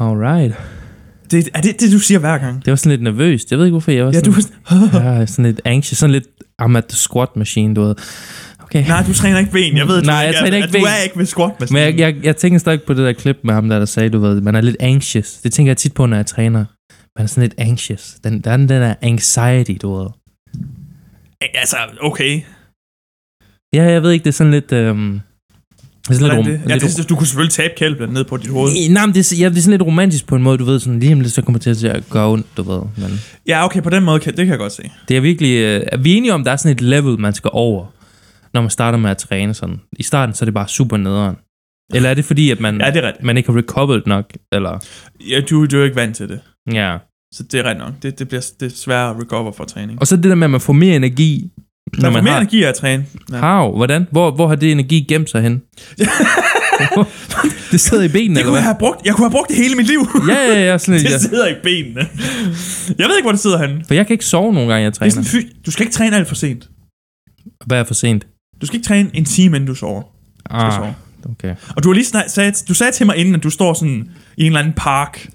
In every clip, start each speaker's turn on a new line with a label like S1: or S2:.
S1: Alright.
S2: Det, er det det, du siger hver gang?
S1: Det var sådan lidt nervøst. Jeg ved ikke, hvorfor jeg var
S2: Ja,
S1: sådan,
S2: du er
S1: ja, sådan lidt anxious. Sådan lidt, I'm at the squat machine, du ved. Okay.
S2: Nej, du træner ikke ben. Jeg ved,
S1: Nej,
S2: du,
S1: jeg træner ikke
S2: Du
S1: ben.
S2: er ikke ved squat
S1: Men jeg, jeg, jeg tænker stadig på det der klip med ham der, der sagde, du ved, man er lidt anxious. Det tænker jeg tit på, når jeg træner. Man er sådan lidt anxious. Den, der er den der anxiety, du ved.
S2: Altså, okay.
S1: Ja, jeg ved ikke, det er sådan lidt... Øhm, det er sådan
S2: Hvordan
S1: lidt, rom,
S2: det? Ja,
S1: lidt
S2: det, du kunne selvfølgelig tabe kælpen ned på dit hoved.
S1: I- Nej, men det, er, ja, det er sådan lidt romantisk på en måde, du ved, sådan lige om lidt, så kommer det til at gøre ondt, du ved. Men
S2: Ja, okay, på den måde, kan, det kan jeg godt se.
S1: det er virkelig, øh, er vi enige om, der er sådan et level, man skal over, når man starter med at træne sådan. I starten, så er det bare super nederen. Eller er det fordi, at man,
S2: Ja, det er rigtigt.
S1: man ikke har recovered nok, eller...
S2: Ja, du, du er jo ikke vant til det.
S1: Ja.
S2: Så det er rigtigt nok. Det, det bliver det er svært at recover fra træning.
S1: Og så det der med, at man får mere energi,
S2: Der
S1: når
S2: er
S1: man
S2: mere
S1: har...
S2: energi af at træne. Ja.
S1: How? Hvordan? Hvor, hvor har det energi gemt sig hen? det sidder i benene,
S2: Det
S1: eller
S2: kunne
S1: hvad?
S2: jeg, have brugt, jeg kunne have brugt det hele mit liv.
S1: Ja, ja, ja, sådan lidt, ja.
S2: det sidder i benene. Jeg ved ikke, hvor det sidder henne.
S1: For jeg kan ikke sove nogle gange, jeg
S2: Det er
S1: træner.
S2: sådan, fy- du skal ikke træne alt for sent.
S1: Hvad er for sent?
S2: Du skal ikke træne en time, inden du sover. Du skal
S1: Ah,
S2: sove.
S1: okay.
S2: Og du har lige snak, sagde, du sagde til mig inden, at du står sådan i en eller anden park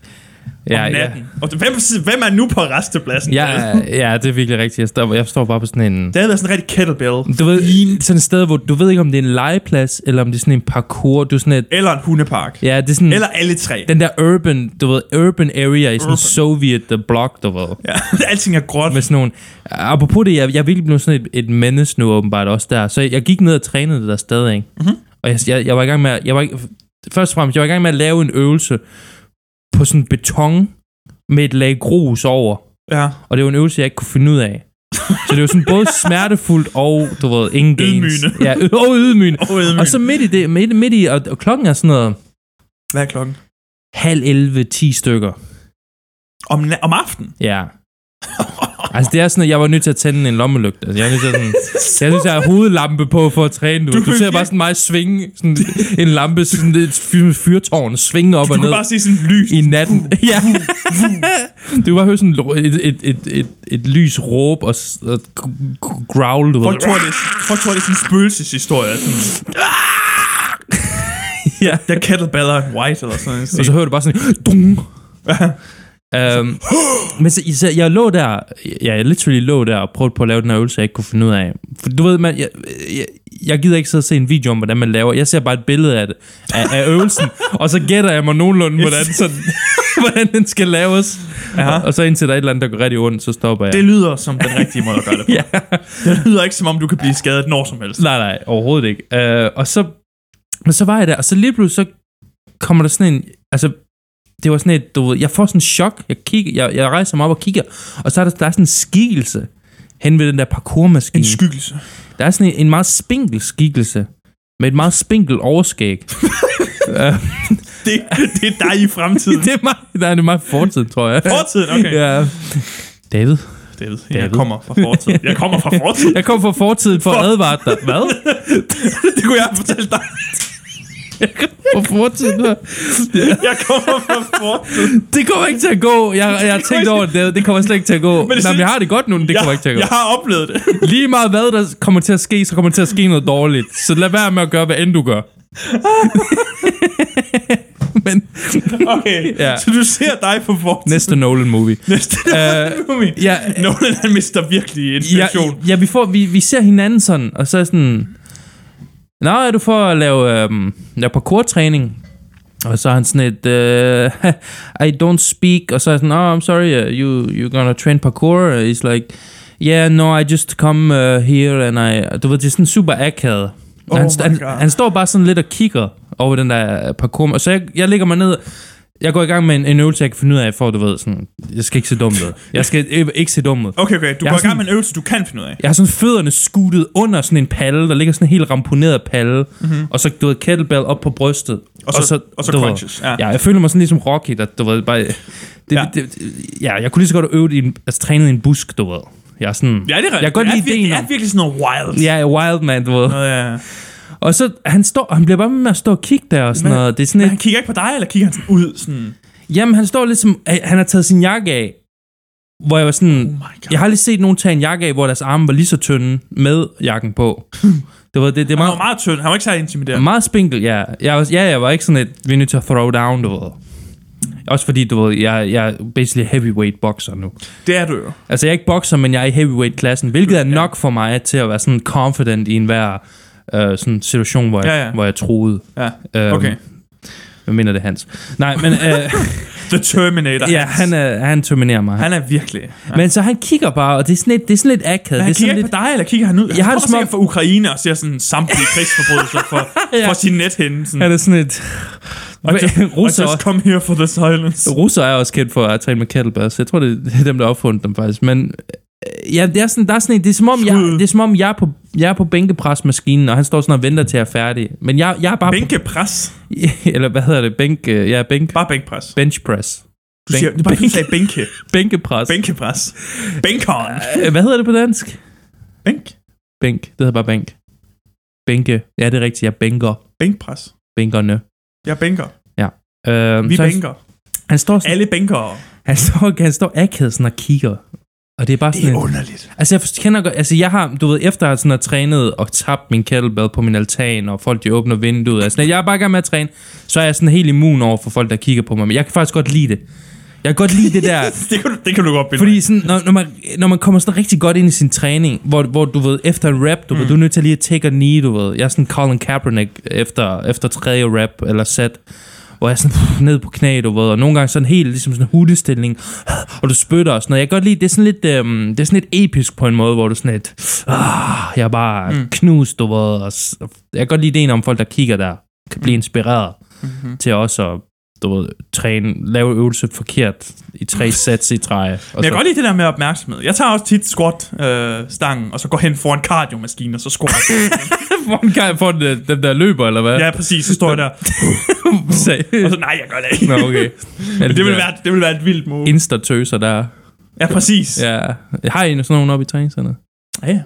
S2: ja,
S1: Ja,
S2: om
S1: ja.
S2: natten. Ja. Og hvem, hvem er nu på restepladsen?
S1: Ja, ja, det er virkelig rigtigt. Jeg står, jeg står bare på sådan en...
S2: Det havde været sådan en rigtig kettlebell.
S1: Du ved, sådan et sted, hvor du ved ikke, om det er en legeplads, eller om det er sådan en parkour. Du er sådan et,
S2: Eller en hundepark. Ja.
S1: ja, det er sådan
S2: Eller alle tre.
S1: den der urban, du ved, urban area i sådan en
S2: Urban.
S1: soviet øh, blok, du ved.
S2: Ja, alting er gråt.
S1: Med sådan nogle, apropos det, jeg, jeg er virkelig blevet sådan et, et menneske nu åbenbart også der. Så jeg gik ned og trænede det der sted, ikke?
S2: Mhm.
S1: Og jeg, jeg, jeg, var i gang med, at- jeg var, ikke- først og fremmest, jeg var i gang med at lave en øvelse på sådan beton med et lag grus over.
S2: Ja.
S1: Og det var en øvelse, jeg ikke kunne finde ud af. Så det var sådan både smertefuldt og, du ved, ingen gains.
S2: Ydmygende.
S1: Ja, ø- og ydmygende.
S2: Og, øde
S1: Mm. Og så midt i det, midt, midt i, og, og klokken er sådan noget
S2: Hvad er klokken?
S1: halv 11, 10 stykker.
S2: Om, na- om aftenen?
S1: Ja. Altså det er sådan, at jeg var nødt til at tænde en lommelygte. Altså, jeg er nødt til at sådan, jeg synes, jeg har hovedlampe på for at træne. Du,
S2: Du
S1: du, du ser
S2: vil
S1: bare sådan mig svinge sådan en lampe, sådan et fyr- fyrtårn, svinge op
S2: Du
S1: og ned
S2: kunne bare sige sådan lys.
S1: i natten. Ja. Du var hørt sådan et, et, et, et, et lys råb og, s- og g- g- growl, du ved.
S2: Folk tror, det er, folk tror, det er sådan en spøgelseshistorie. Sådan.
S1: Ja.
S2: Der er kettlebell and white eller sådan noget.
S1: Og så hører du bare sådan... Dung. øhm, men så, så jeg lå der... Ja, jeg literally lå der og prøvede på at lave den her øvelse, jeg ikke kunne finde ud af. For du ved, man, jeg, jeg, jeg gider ikke sidde og se en video om, hvordan man laver. Jeg ser bare et billede af, det, af, af øvelsen, og så gætter jeg mig nogenlunde, hvordan, sådan, hvordan den skal laves.
S2: Aha.
S1: Og, og så indtil der er et eller andet, der går rigtig ondt, så stopper jeg.
S2: Det lyder som den rigtige måde at gøre det på.
S1: ja. Mm.
S2: Det lyder ikke som om, du kan blive skadet når som helst.
S1: Nej, nej, overhovedet ikke. Øh, og så, men så var jeg der, og så lige pludselig, så kommer der sådan en, altså, det var sådan et, du ved, jeg får sådan en chok, jeg, kigger, jeg, jeg rejser mig op og kigger, og så er der, der er sådan en skikkelse hen ved den der parkourmaskine.
S2: En skyggelse.
S1: der er sådan en, en meget spinkel skikkelse, med et meget spinkel overskæg.
S2: Det, det er dig i fremtiden.
S1: det er meget, nej, det er meget fortid, tror jeg.
S2: Fortiden, okay.
S1: Ja. David,
S2: David, jeg
S1: David.
S2: kommer fra fortiden. Jeg kommer fra fortiden.
S1: jeg kom fra fortiden for at advare dig. Hvad?
S2: Det kunne jeg fortælle dig.
S1: Fra fortiden?
S2: Jeg kommer fra fortiden.
S1: Det kommer ikke til at gå. Jeg, jeg har tænkt over det. David. Det kommer slet ikke til at gå. Men
S2: det
S1: Nej, men
S2: synes-
S1: jeg har det godt nu, men det
S2: jeg,
S1: kommer ikke til at gå.
S2: jeg har oplevet det.
S1: Lige meget hvad der kommer til at ske, så kommer der til at ske noget dårligt. Så lad være med at gøre, hvad end du gør. men
S2: Okay,
S1: Ja.
S2: så du ser dig fra fortiden.
S1: næste Nolan-movie.
S2: Næste.
S1: Øh,
S2: Uh,
S1: ja.
S2: Nolan, han mister virkelig
S1: Ja,
S2: inspiration.
S1: ja vi, får, vi, vi ser hinanden sådan, og så er sådan... Nå, er du for at lave, øhm, lave parkour-træning? Og så er han sådan et, øh, I don't speak. Og så er jeg sådan, oh, I'm sorry, uh, you, you're gonna train parkour. Uh, He's like, yeah, no, I just come uh, here, and I... Du ved, det er sådan super akavet. Og
S2: Oh
S1: han,
S2: my
S1: han,
S2: God.
S1: han, står bare sådan lidt og kigger over den der øh, parkour. Og så jeg, jeg ligger mig ned, jeg går i gang med en, en øvelse, jeg kan finde ud af, for du ved, sådan, jeg skal ikke se dum ud. Jeg skal øh, ikke se dum ud.
S2: Okay, okay, du
S1: Jeg
S2: går
S1: er
S2: i gang med en øvelse, du kan finde ud af.
S1: Jeg har sådan fødderne skuttet under sådan en palle, der ligger sådan en helt ramponeret palle, mm-hmm. og så du ved, kettlebell op på brystet.
S2: Mhm. Og så, og så, og så
S1: du ved,
S2: crunches. Ja.
S1: Ja, jeg føler mig sådan ligesom Rocky, der du ved, bare... Det, ja.
S2: Ja.
S1: Det, det, ja, jeg kunne lige så godt øve det i en, altså, trænet i en busk, du ved. Jeg er sådan...
S2: Ja, det er rigtigt.
S1: Jeg kan godt
S2: Det er
S1: lide
S2: vir-
S1: ideen
S2: Det
S1: om-
S2: er virkelig sådan noget wild.
S1: Ja, jeg er wild man, du ved.
S2: Noget, ja.
S1: Og så, han, står, han bliver bare ved med at stå og kigge der og sådan
S2: Men-
S1: noget. Det er sådan
S2: Han
S1: et,
S2: kigger ikke på dig, eller kigger han sådan ud? Sådan,
S1: jamen, han står ligesom... øh, Han har taget sin jakke af, hvor jeg var sådan...
S2: oh my god.
S1: jeg har lige set nogen tage en jakke af, hvor deres arme var lige så tynde med jakken på.
S2: Hmm.
S1: Det var, det, det er
S2: Han
S1: meget,
S2: var meget tynd. Mm. Han var ikke særlig intimiderende.
S1: Meget spinkel, ja. Jeg var, ja, jeg var ikke sådan et, vi er nødt til at throw down, du ved. Også fordi, du ved, jeg, jeg er basically heavyweight boxer nu.
S2: Det er du jo.
S1: Altså, jeg er ikke bokser, men jeg er i heavyweight-klassen, hvilket er nok for mig til at være sådan confident i enhver øh, sådan situation, hvor jeg,
S2: Ja, ja.
S1: Hvor jeg troede.
S2: Ja.
S1: Øhm,
S2: Okay.
S1: Hvad mener det, er Hans? Nej, men øh,
S2: The Terminator.
S1: ja, han, øh, han terminerer mig.
S2: han er virkelig... Ja.
S1: Men så han kigger bare, og det er sådan lidt, det er sådan lidt akavet. det er
S2: Men han kigger
S1: sådan
S2: ikke
S1: lidt,
S2: lidt... på dig, eller kigger han ud?
S1: Jeg har det
S2: kommer
S1: som om-
S2: sikkert fra Ukraine og ser sådan samtlige krigsforbrydelser for,
S1: Ja.
S2: for sin nethænde. Sådan,
S1: han er sådan lidt...
S2: og just,
S1: Russer,
S2: I just come here for the silence.
S1: russer er også kendt for at træne med kettlebells. Jeg tror, det er dem, der opfundet dem faktisk. Men øh, ja, det er sådan, der er sådan, en- det er som om, jeg,
S2: Skud.
S1: det er, som om jeg, er på, jeg er på bænkepresmaskinen, og han står sådan og venter til at jeg er færdig. Men jeg, jeg er bare...
S2: Bænkepres.
S1: På, eller hvad hedder det? Bænk, øh, jeg er bænk,
S2: Bare bænkpres.
S1: bench press.
S2: Du siger, det er bare, fordi du sagde bænke.
S1: Bænkepres. Bænk. Øh,
S2: Bænkepres. Bænkon.
S1: Hvad hedder det på dansk?
S2: Bænk.
S1: Bænk. Det hedder bare bænk. Bænke. Ja, det er rigtigt. Jeg bænker.
S2: Bænkpres.
S1: Bænkerne.
S2: Jeg bænker.
S1: Øhm,
S2: Vi
S1: så han,
S2: bænker.
S1: han, står sådan,
S2: Alle bænkere.
S1: han står, han står akavet sådan og kigger. Og det er bare
S2: Det
S1: sådan...
S2: er
S1: en-
S2: underligt.
S1: Altså, jeg forst- kender godt, altså, jeg har, du ved, efter at sådan har trænet og tabt min kettlebell på min altan, og folk, de åbner vinduet, altså, jeg er bare i gang med at træne, så er jeg sådan helt immun over for folk, der kigger på mig, men jeg kan faktisk godt lide det. Jeg kan godt lide det der,
S2: Det kan, du, det kan du godt binde.
S1: fordi sådan, når, når, man, når man kommer sådan rigtig godt ind i sin træning, hvor, hvor du ved, efter en rap, du, mm. ved, du er nødt til lige at take a knee, du ved. Jeg er sådan Colin Kaepernick efter, efter tredje rap eller set, hvor jeg er sådan pff, ned på knæ, du ved, og nogle gange sådan helt ligesom sådan en hudestilling, og du spytter og sådan noget. Jeg kan godt lide, det er sådan lidt, øhm, det er sådan lidt episk på en måde, hvor du sådan lidt, ah, jeg er bare mm. knust, du ved. Og, s- og jeg kan godt lide det om folk, der kigger der, kan blive inspireret Mm. mm-hmm. til også at du ved, træne, lave øvelse forkert i tre sæt i træ.
S2: Men jeg kan godt lide det der med opmærksomhed. Jeg tager også tit squat-stangen, øh, og så går hen foran kardiomaskinen, og så squat.
S1: Hvordan kan jeg få den, den der løber, eller hvad?
S2: ja, præcis. Så står jeg der. Og
S1: Seriøst?
S2: så, nej, jeg gør det ikke.
S1: Nå, okay. øh,
S2: Men det vil, være, det vil være et vildt move.
S1: Insta-tøser der.
S2: Ja, præcis.
S1: Ja. Har I sådan nogen oppe i træningscenteret?
S2: Ja, ja.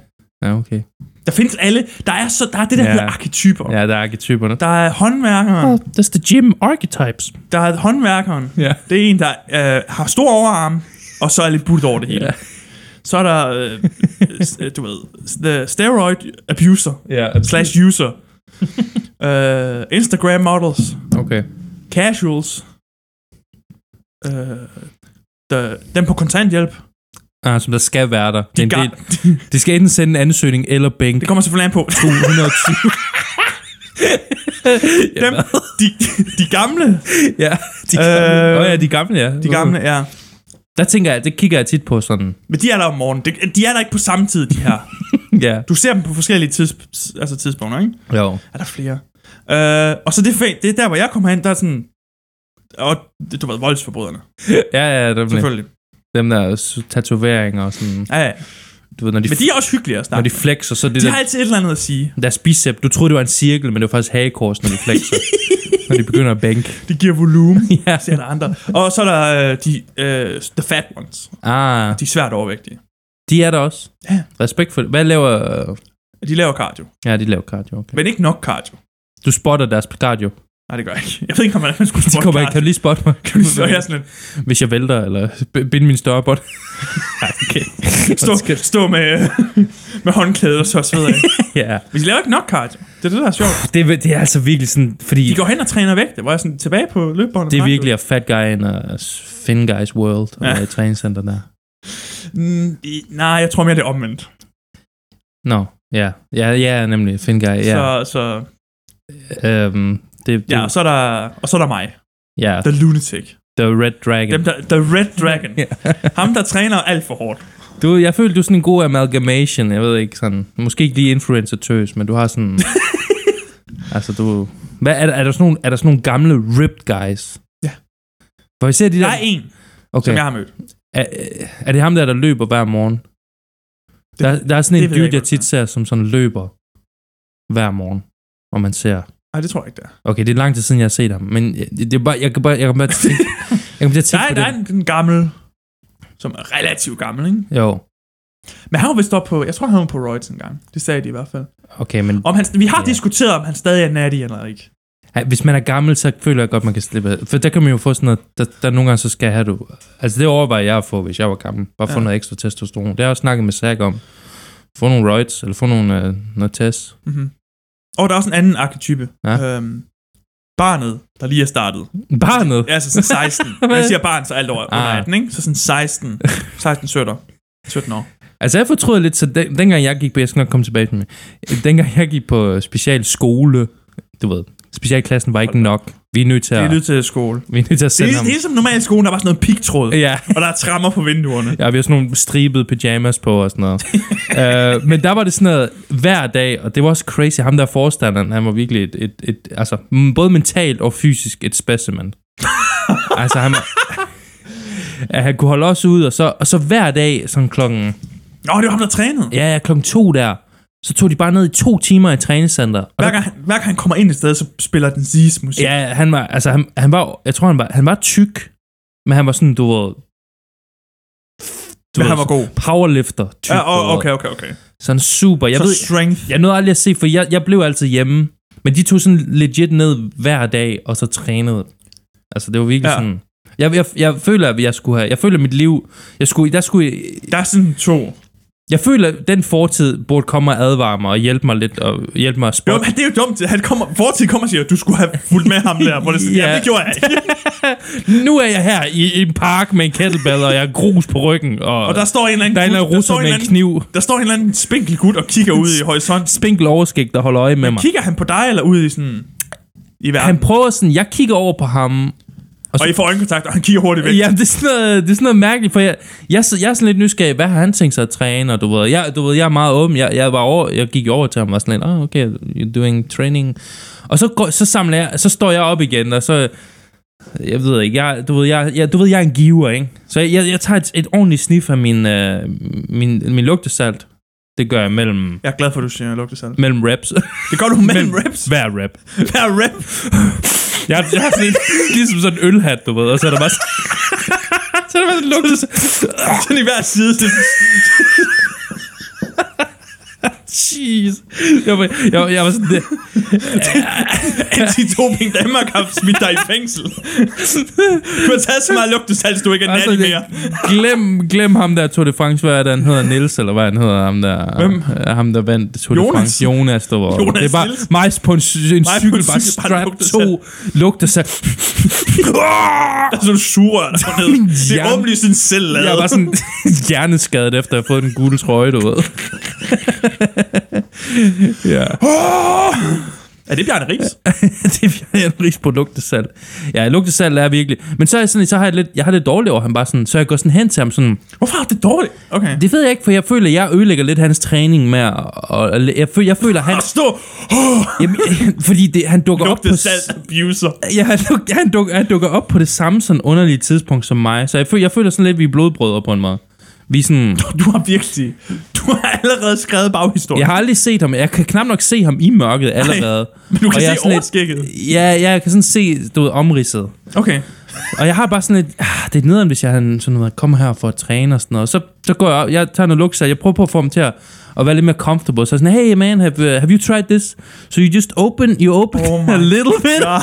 S1: Ja, okay.
S2: Der findes alle. Der er, så, der er det, der
S1: Ja.
S2: ja. hedder arketyper. Ja.
S1: Ja, der er arketyperne.
S2: Der er håndværkeren.
S1: That's the gym archetypes.
S2: Der er håndværkeren.
S1: Ja.
S2: Det er en, der øh, har stor overarm, og så er lidt budt over det hele.
S1: Ja.
S2: Ja. Så er der, øh, øh, du ved, the steroid abuser,
S1: Ja, altså-
S2: slash user. øh, Instagram models,
S1: Okay.
S2: casuals, øh, the, dem på kontanthjælp.
S1: Ah, som der skal være der. De,
S2: Gar-
S1: de, de skal enten sende en ansøgning eller bænke
S2: Det kommer selvfølgelig an på.
S1: 220.
S2: Dem, de, de gamle,
S1: ja, de gamle.
S2: Øh,
S1: Øh, oh, ja, de gamle, ja. Uh-huh.
S2: de gamle, ja.
S1: Der tænker jeg, det kigger jeg tit på sådan.
S2: Men de er der om morgenen. De, de er der ikke på samme tid, de her.
S1: Ja.
S2: Du ser dem på forskellige tids, altså tidspunkter, ikke?
S1: Jo.
S2: Er der flere? Øh, og så det, fæ- det er der, hvor jeg kommer hen, der er sådan... Og det- du ved, voldsforbryderne,
S1: Ja, ja, dem,
S2: selvfølgelig.
S1: dem der s- tatoveringer og sådan.
S2: Ja, ja.
S1: Du ved, når de
S2: Men de er også hyggelige at
S1: Når
S2: snakke.
S1: de flexer, så er det
S2: De
S1: der,
S2: har altid et eller andet at sige.
S1: deres bicep. Du troede, det var en cirkel, men det var faktisk hagekors, når de flexer. når de begynder at bænke.
S2: Det giver volumen,
S1: ja.
S2: siger der andre. Og så er der øh, de øh, the fat ones.
S1: Ah,
S2: De er svært overvægtige.
S1: de er der også.
S2: Ja.
S1: Respekt for det. Hvad laver...
S2: De laver cardio.
S1: Ja, de laver cardio. Okay.
S2: Men ikke nok cardio.
S1: Du spotter deres cardio.
S2: Nej, det gør jeg ikke. Jeg ved ikke, om man skulle
S1: De
S2: spørge
S1: kommer ikke, kan du lige spotte mig?
S2: Så er jeg sådan lidt,
S1: Hvis jeg vælter, eller b- binde min størrebånd. okay.
S2: stå, stå med, med håndklæde og så sveder jeg.
S1: ja.
S2: Men de laver ikke nok cardio. Det er det, der er sjovt.
S1: Det, er- det er altså virkelig sådan, fordi...
S2: De går hen og træner vægte, hvor jeg er sådan tilbage på løbebåndet.
S1: Det er virkelig a fat guy in a thin guy's world, og
S2: Ja.
S1: ja. i træningscenter der.
S2: Mm, i- nej, jeg tror mere, det er omvendt.
S1: Nå, ja. Ja, ja, nemlig. Thin guy, ja.
S2: Så, så,
S1: øhm, det, det,
S2: ja, og, så er der, og så er der mig.
S1: ja.
S2: The Lunatic.
S1: The Red Dragon.
S2: Dem, der, the Red Dragon. Ham, der træner alt for hårdt.
S1: Du, jeg føler, du er sådan en god amalgamation. Jeg ved ikke sådan... Måske ikke lige influencer-tøs, men du har sådan... altså, du... Hvad, er, der, er, der sådan nogle, er der sådan nogle gamle ripped guys?
S2: Ja.
S1: Hvor vi ser de der...
S2: Der er en,
S1: okay.
S2: som jeg har mødt.
S1: er, er, det ham der, der løber hver morgen? Det, der, der er sådan
S2: det
S1: en
S2: ved jeg
S1: dude,
S2: ikke,
S1: jeg tit ser, som sådan løber hver morgen. Og man ser...
S2: Nej, det tror jeg ikke, der.
S1: Okay, det er lang tid siden, jeg har set ham. Men jeg, det er bare, jeg kan bare... Jeg kan bare tænke, jeg kan bare
S2: Der
S1: tænke
S2: er,
S1: på
S2: der er
S1: det.
S2: en, en gammel, som er relativt gammel, ikke?
S1: Jo,
S2: Men han var vist op på, jeg tror, han var på Reuters en gang. Det sagde de i hvert fald.
S1: okay, men
S2: Om han, vi har
S1: Ja.
S2: yeah. diskuteret, om han stadig er natty eller ikke.
S1: Ej, Hvis man er gammel, så føler jeg godt, man kan slippe. af. For der kan man jo få sådan noget, der, der nogle gange så skal have du. Altså det overvejer jeg at få, hvis jeg var gammel. Bare få
S2: Ja.
S1: noget ekstra testosteron. Det har jeg også snakket med Zach om. Få nogle roids,
S2: Mhm.
S1: eller få nogle øh, noget test.
S2: Mm-hmm. Og der er også en anden arketype.
S1: Ja.
S2: Øhm, barnet, der lige er startet.
S1: Barnet? Ja.
S2: Altså sådan 16. Når jeg siger barn, så alt over under
S1: Ah.
S2: 18, ikke? Så sådan 16, 16 17, 17 år.
S1: Altså, jeg fortryder lidt, så den, dengang jeg gik på, jeg skal nok komme tilbage til det, men dengang jeg gik på specialskole, du ved, specialklassen var ikke nok. Vi er nødt til
S2: Det
S1: at,
S2: er nødt til skole.
S1: vi er nødt til at
S2: Det
S1: sende
S2: er,
S1: ham.
S2: det er som normalt i skolen, der var sådan noget pigtråd,
S1: Ja,
S2: og der er trammer på vinduerne.
S1: ja, vi har sådan nogle stribede pyjamas på og sådan noget. uh, men der var det sådan noget hver dag, og det var også crazy. Ham der forstanderen, han var virkelig et, et, et altså, mm, både mentalt og fysisk et specimen. altså, han, ja, han kunne holde os ud, og så, og så hver dag, sådan klokken
S2: Nå, det var ham, der trænede.
S1: ja, ja, klokken to der, så tog de bare ned i to timer i træningscenter. Og
S2: Hver gang, han- hver gang han kommer ind et sted, så spiller den Z's musik.
S1: ja, han var, altså han, han var, jeg tror han var, han var tyk, men han var sådan, du ved,
S2: Men han var god.
S1: powerlifter tyk.
S2: Ja, og,
S1: du ved.
S2: okay, okay, okay.
S1: Sådan super. Jeg,
S2: så
S1: ved,
S2: strength.
S1: jeg nåede aldrig at se, for jeg, jeg blev altid hjemme, men de tog sådan legit ned hver dag, og så trænede. Altså, det var virkelig
S2: Ja.
S1: ja. sådan... Jeg, jeg, jeg, føler, at jeg skulle have... Jeg føler, at mit liv... Jeg skulle, der skulle,
S2: Der er sådan to.
S1: jeg føler, at den fortid burde komme og advare mig og hjælpe mig lidt og hjælpe mig at
S2: Jo,
S1: spotte.
S2: men det er jo dumt. Han kommer, fortid kommer og siger, du skulle have fulgt med ham der. Hvor det, ja.
S1: Ja.
S2: Jamen, det gjorde jeg ikke.
S1: Nu er jeg her i, i en park med en kettlebell, og jeg har grus på ryggen, og,
S2: Og der står en eller anden,
S1: der er en eller
S2: gut-
S1: anden russer
S2: står en
S1: med
S2: eller
S1: en
S2: anden-
S1: kniv.
S2: Der står en eller anden spinkel gut og kigger ud i horisonten.
S1: Spinkel overskæg, der holder øje med mig.
S2: Kigger han på dig eller ud i sådan... I verden?
S1: Han prøver sådan, jeg kigger over på ham,
S2: og I får øjenkontakt, og han kigger hurtigt væk.
S1: Ja, det er sådan noget, det er sådan noget mærkeligt, for jeg, jeg, jeg er sådan lidt nysgerrig. Hvad har han tænkt sig at træne? Og du ved, jeg, du ved, jeg er meget åben. Jeg, jeg, var over, jeg gik over til ham og var sådan lidt, oh, okay, you're doing training. Og så, går, så samler jeg, så står jeg op igen, og så... Jeg ved ikke, jeg, du, ved, jeg, jeg, du ved, jeg er en giver, ikke? Så jeg, jeg, jeg tager et, et ordentligt snif af min, øh, min, min lugtesalt. Det gør jeg mellem,
S2: Jeg er glad for, at du siger lugtesalt.
S1: mellem reps.
S2: Det gør du mellem reps.
S1: Hver rep.
S2: Hver rep.
S1: Jeg, har- jeg har sådan en, ligesom sådan en ølhat, du ved, og så er der bare... sådan- så er der bare sådan en lugtesalt.
S2: Sådan i hver side. Det,
S1: Jeez. Jeg var, jeg, var- jeg var sådan, det,
S2: Anti-doping Danmark har smidt dig i fængsel. Du har taget så meget lugtesalt, så du ikke er
S1: altså,
S2: natty
S1: det,
S2: mere.
S1: glem, glem ham der Tour de France, hvad er det, han hedder Nils, eller hvad han hedder, ham der,
S2: Hvem?
S1: øh, ham der vandt Tour
S2: Jonas.
S1: de France, Jonas, der var,
S2: Jonas
S1: det er bare
S2: Nielsen.
S1: majs på en, cy- en
S2: Majs på en
S1: cykel, bare
S2: cykel, bare
S1: strap
S2: lugter
S1: to, lugter sig,
S2: Der er sådan en sugerør, der går ned. Det er
S1: Jern.
S2: åbenlyst en selv
S1: jeg var sådan hjerneskadet efter at have fået den gule trøje, du ved. ja.
S2: Er det Bjarne Ries?
S1: det er en ris på lugtesalt. Ja, lugtesalt er virkelig. Men så, er jeg sådan, så har jeg lidt, jeg har det dårligt over ham bare sådan, så jeg går sådan hen til ham sådan,
S2: Hvorfor er det dårligt? Okay.
S1: Det ved jeg ikke, for jeg føler, jeg ødelægger lidt hans træning med, at- og, og jeg, føler, jeg føler, han...
S2: At stå oh,
S1: Jamen, fordi det, han dukker op på...
S2: lugtesalt abuser.
S1: Ja, han, duk, han, duk, han dukker op på det samme sådan underlige tidspunkt som mig, så jeg føler, jeg føler sådan lidt, vi er blodbrødre på en måde. Vi er sådan...
S2: Du har virkelig... Du har allerede skrevet baghistorien.
S1: Jeg har aldrig set ham, jeg kan knap nok se ham i mørket allerede.
S2: Men du kan
S1: og jeg er
S2: se
S1: sådan lidt-
S2: overskægget.
S1: Ja, ja, jeg kan sådan se, du ved, omridset.
S2: Okay.
S1: Og jeg har bare sådan lidt, ah, det er nederen, hvis jeg han sådan noget, kommer her for at træne og sådan noget. Så, så går jeg op, jeg tager noget lukser, jeg prøver på at få ham til at, at være lidt mere comfortable. Så er jeg sådan, hey man, have, uh, have you tried this? So you just open, you open
S2: Oh my
S1: a little bit.
S2: Ja.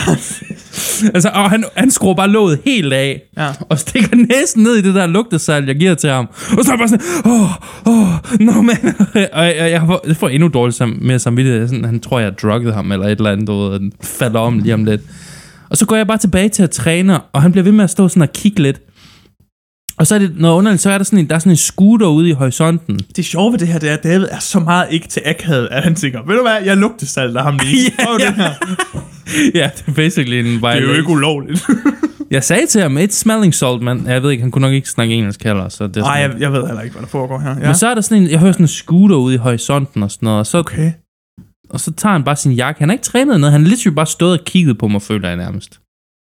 S1: Altså, og han, han skruer bare låget helt af.
S2: Ja.
S1: Og stikker næsen ned i det der lugtesal, jeg giver til ham. Og så er jeg bare sådan, åh, åh, no man. og jeg, jeg, får, jeg får endnu dårligt sam, mere samvittighed. Jeg er Sådan, han tror, jeg har drugget ham eller et eller andet, du ved, han falder om lige om lidt. Og så går jeg bare tilbage til at træne, og han bliver ved med at stå sådan og kigge lidt. Og så er det noget underligt, så er der sådan en, der er sådan en scooter ude i horisonten.
S2: Det sjove ved det her, det er, at David er så meget ikke til akavet, at han tænker, ved du hvad, jeg lugtesalt af ham lige.
S1: Ja,
S2: Prøv det
S1: ja.
S2: her.
S1: ja, det er basically en
S2: Det er jo
S1: violation.
S2: ikke ulovligt.
S1: Jeg sagde til ham, it's smelling salt, men jeg ved ikke, han kunne nok ikke snakke engelsk heller. Så det er sådan-
S2: Nej, jeg, jeg ved heller ikke, hvad der foregår her. Ja.
S1: Men så er der sådan en, jeg hører sådan en scooter ude i horisonten og sådan noget, og så, okay.
S2: Okay.
S1: og så tager han bare sin jakke. Han har ikke trænet noget, han har literally bare stået og kigget på mig, føler jeg nærmest.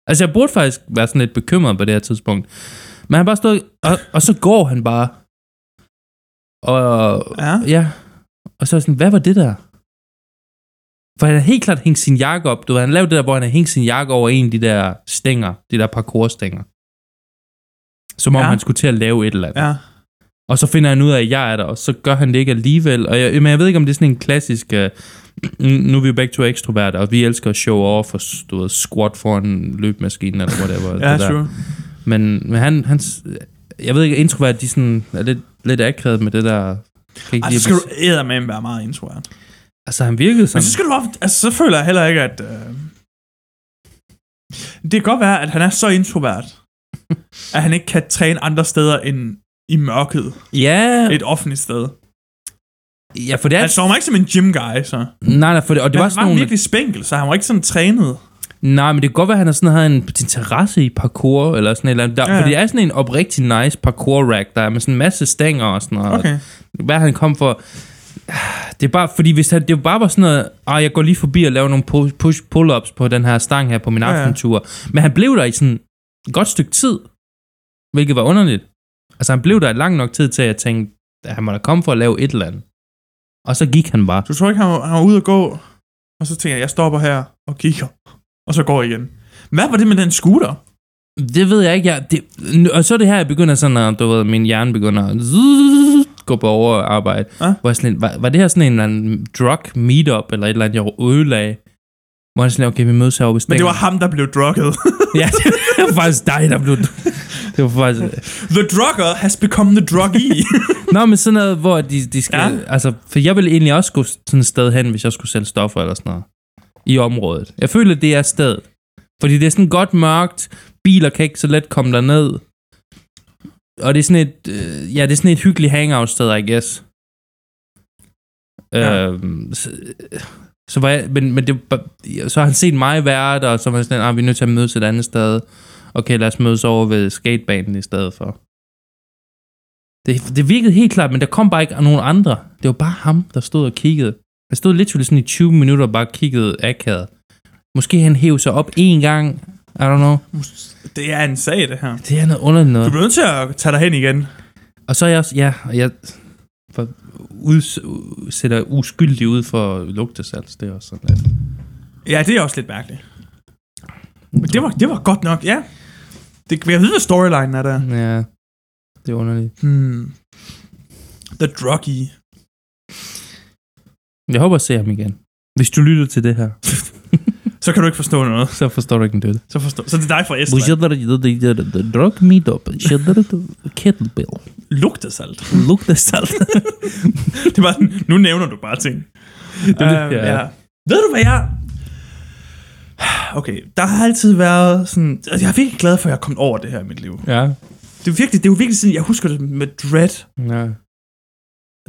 S1: Altså, jeg burde faktisk være sådan lidt bekymret på det her tidspunkt. Men han bare stod, og, og så går han bare. Og
S2: Ja.
S1: ja, og så er jeg sådan, hvad var det der? For han har helt klart hængt sin jakke op. Du ved, han lavede det der, hvor han har hængt sin jakke over en af de der stænger, de der parkour-stænger. Som om
S2: Ja.
S1: ja. han skulle til at lave et eller andet.
S2: Ja.
S1: Og så finder han ud af, at jeg er der, og så gør han det ikke alligevel. Og jeg, men jeg ved ikke, om det er sådan en klassisk... Uh, nu er vi jo begge to ekstroverter, og vi elsker at show off og du ved, squat foran løbemaskinen eller whatever.
S2: Ja,
S1: det der.
S2: sure.
S1: Men, men han, hans, jeg ved ikke, introvert, de sådan er lidt, lidt akavet med det der... Kan ikke
S2: Ej,
S1: lide
S2: så
S1: at
S2: Altså, skal du
S1: bes-
S2: eddermame være meget introvert.
S1: Altså, han virkede
S2: Men
S1: sådan...
S2: så skal du op, altså, så føler jeg heller ikke, at... Øh, Det kan godt være, at han er så introvert, at han ikke kan træne andre steder end i mørket.
S1: Ja,
S2: Et offentligt sted. Altså,
S1: ja for det er...
S2: Han slår mig ikke som en gym-guy, så.
S1: nej, nej, for det, og det
S2: Men
S1: var
S2: han
S1: sådan
S2: var
S1: nogle...
S2: virkelig spænkel, så han var ikke sådan trænet.
S1: Nej, men det kan godt være, at han har sådan havde en interesse i parkour, eller sådan et eller andet. Der,
S2: Ja,
S1: ja.
S2: ja.
S1: For det er sådan en oprigtig nice parkour-rack, der er med sådan en masse stænger og sådan noget.
S2: Okay.
S1: Hvad han kom for... Det er bare, fordi hvis han, det bare var sådan noget, ah, jeg går lige forbi og laver nogle pu- push pull-ups på den her stang her på min
S2: Ja, ja.
S1: aftentur. Men han blev der i sådan et godt stykke tid, hvilket var underligt. Altså han blev der i lang nok tid til, at jeg tænkte, at han må da komme for at lave et eller andet. Og så gik han bare.
S2: Du tror ikke, han var, han var ude at gå, og så tænker jeg, jeg stopper her og kigger, og så går jeg igen. Hvad var det med den scooter?
S1: Det ved jeg ikke. Jeg, det, nu- og så er det her, jeg begynder sådan, at du ved, min hjerne begynder at zzzz, gå på overarbejde.
S2: Ja.
S1: Hvor jeg sådan, lidt, var, var det her sådan en eller anden drug meetup, eller et eller andet, jeg ødelagde? Hvor jeg sådan, lidt, okay, vi mødes herovre ved
S2: Men det
S1: Stænger.
S2: var ham, der blev drukket.
S1: Ja, det, det var faktisk dig, der blev... Det var faktisk...
S2: the drugger has become the druggee.
S1: Nå, men sådan noget, hvor de, de skal...
S2: Ja.
S1: Ja. Altså, for jeg ville egentlig også gå sådan et sted hen, hvis jeg skulle sælge stoffer eller sådan noget. I området. Jeg føler, det er stedet. Fordi det er sådan godt mørkt. Biler kan ikke så let komme derned. Og det er sådan et... Øh, ja, det er sådan et hyggeligt hangout-sted, I guess.
S2: Ja.
S1: Ja. Øhm, så, så var jeg, men, men det, var bare- så har han set mig være der, og så var han sådan, ah, vi er nødt til at mødes et andet sted. Okay, lad os mødes over ved skatebanen i stedet for. Det, det virkede helt klart, men der kom bare ikke nogen andre. Det var bare ham, der stod og kiggede. Han stod lidt sådan i 20 minutter og bare kiggede akavet. Måske han hævde sig op én gang. I don't know.
S2: det er en sag, det her.
S1: Det er noget underligt
S2: Du
S1: noget.
S2: bliver nødt til at tage dig hen igen.
S1: Og så er jeg også, ja, og jeg for, uds, u- sætter uskyldig ud for lugtesals. Det er også sådan lidt.
S2: Ja, det er også lidt mærkeligt. Men det var, det var godt nok, ja. Det, jeg ved, hvad storylinen er der.
S1: Ja, det er underligt.
S2: Hmm. The druggie.
S1: Jeg håber at se ham igen. Hvis du lytter til det her,
S2: Så kan du ikke forstå noget.
S1: så forstår du ikke en død.
S2: Så, forstå. så det er dig fra Estland.
S1: Drug meetup. Kettlebell.
S2: Lugtesalt.
S1: Lugtesals.
S2: Det var sådan, nu nævner du bare ting. det,
S1: er det, Øhm, ja.
S2: Ved du, hvad jeg... Okay, der har altid været sådan... altså, Jeg er virkelig glad for, at jeg er kommet over det her i mit liv.
S1: Ja.
S2: Det er virkelig, det er jo virkelig sådan, jeg husker det med Dread.
S1: Ja.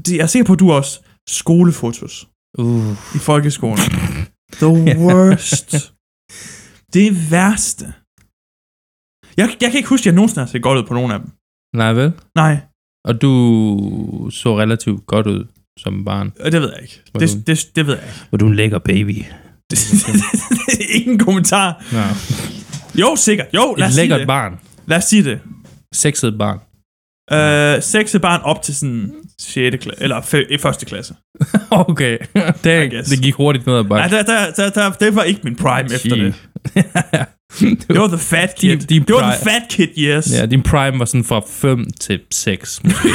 S2: Det, jeg er sikker på, at du også skolefotos
S1: Uh.
S2: i folkeskolen. The worst. det værste. Jeg, jeg kan ikke huske, at jeg nogensinde har set godt ud på nogen af dem.
S1: Nej, vel?
S2: Nej,
S1: Og du så relativt godt ud som barn.
S2: det ved jeg ikke.
S1: Hvordan?
S2: Det, det, det ved jeg ikke.
S1: Var du en lækker baby?
S2: Ingen kommentar.
S1: Nå.
S2: Jo, sikkert. Jo, lad
S1: Et
S2: os sige
S1: lækkert
S2: det.
S1: barn.
S2: Lad os sige det.
S1: Sexet barn.
S2: Øh, sexet barn op til sådan 6. klasse, eller fe- i første klasse.
S1: okay.
S2: I
S1: Det,
S2: guess.
S1: det gik hurtigt ned ad
S2: Nej,
S1: bakken.
S2: der, der, der, der, det var ikke min prime efter det. Det var the fat kid.
S1: Din- din
S2: det var the
S1: prime.
S2: fat kid, yes.
S1: Ja, din prime var sådan fra 5 til 6. måske.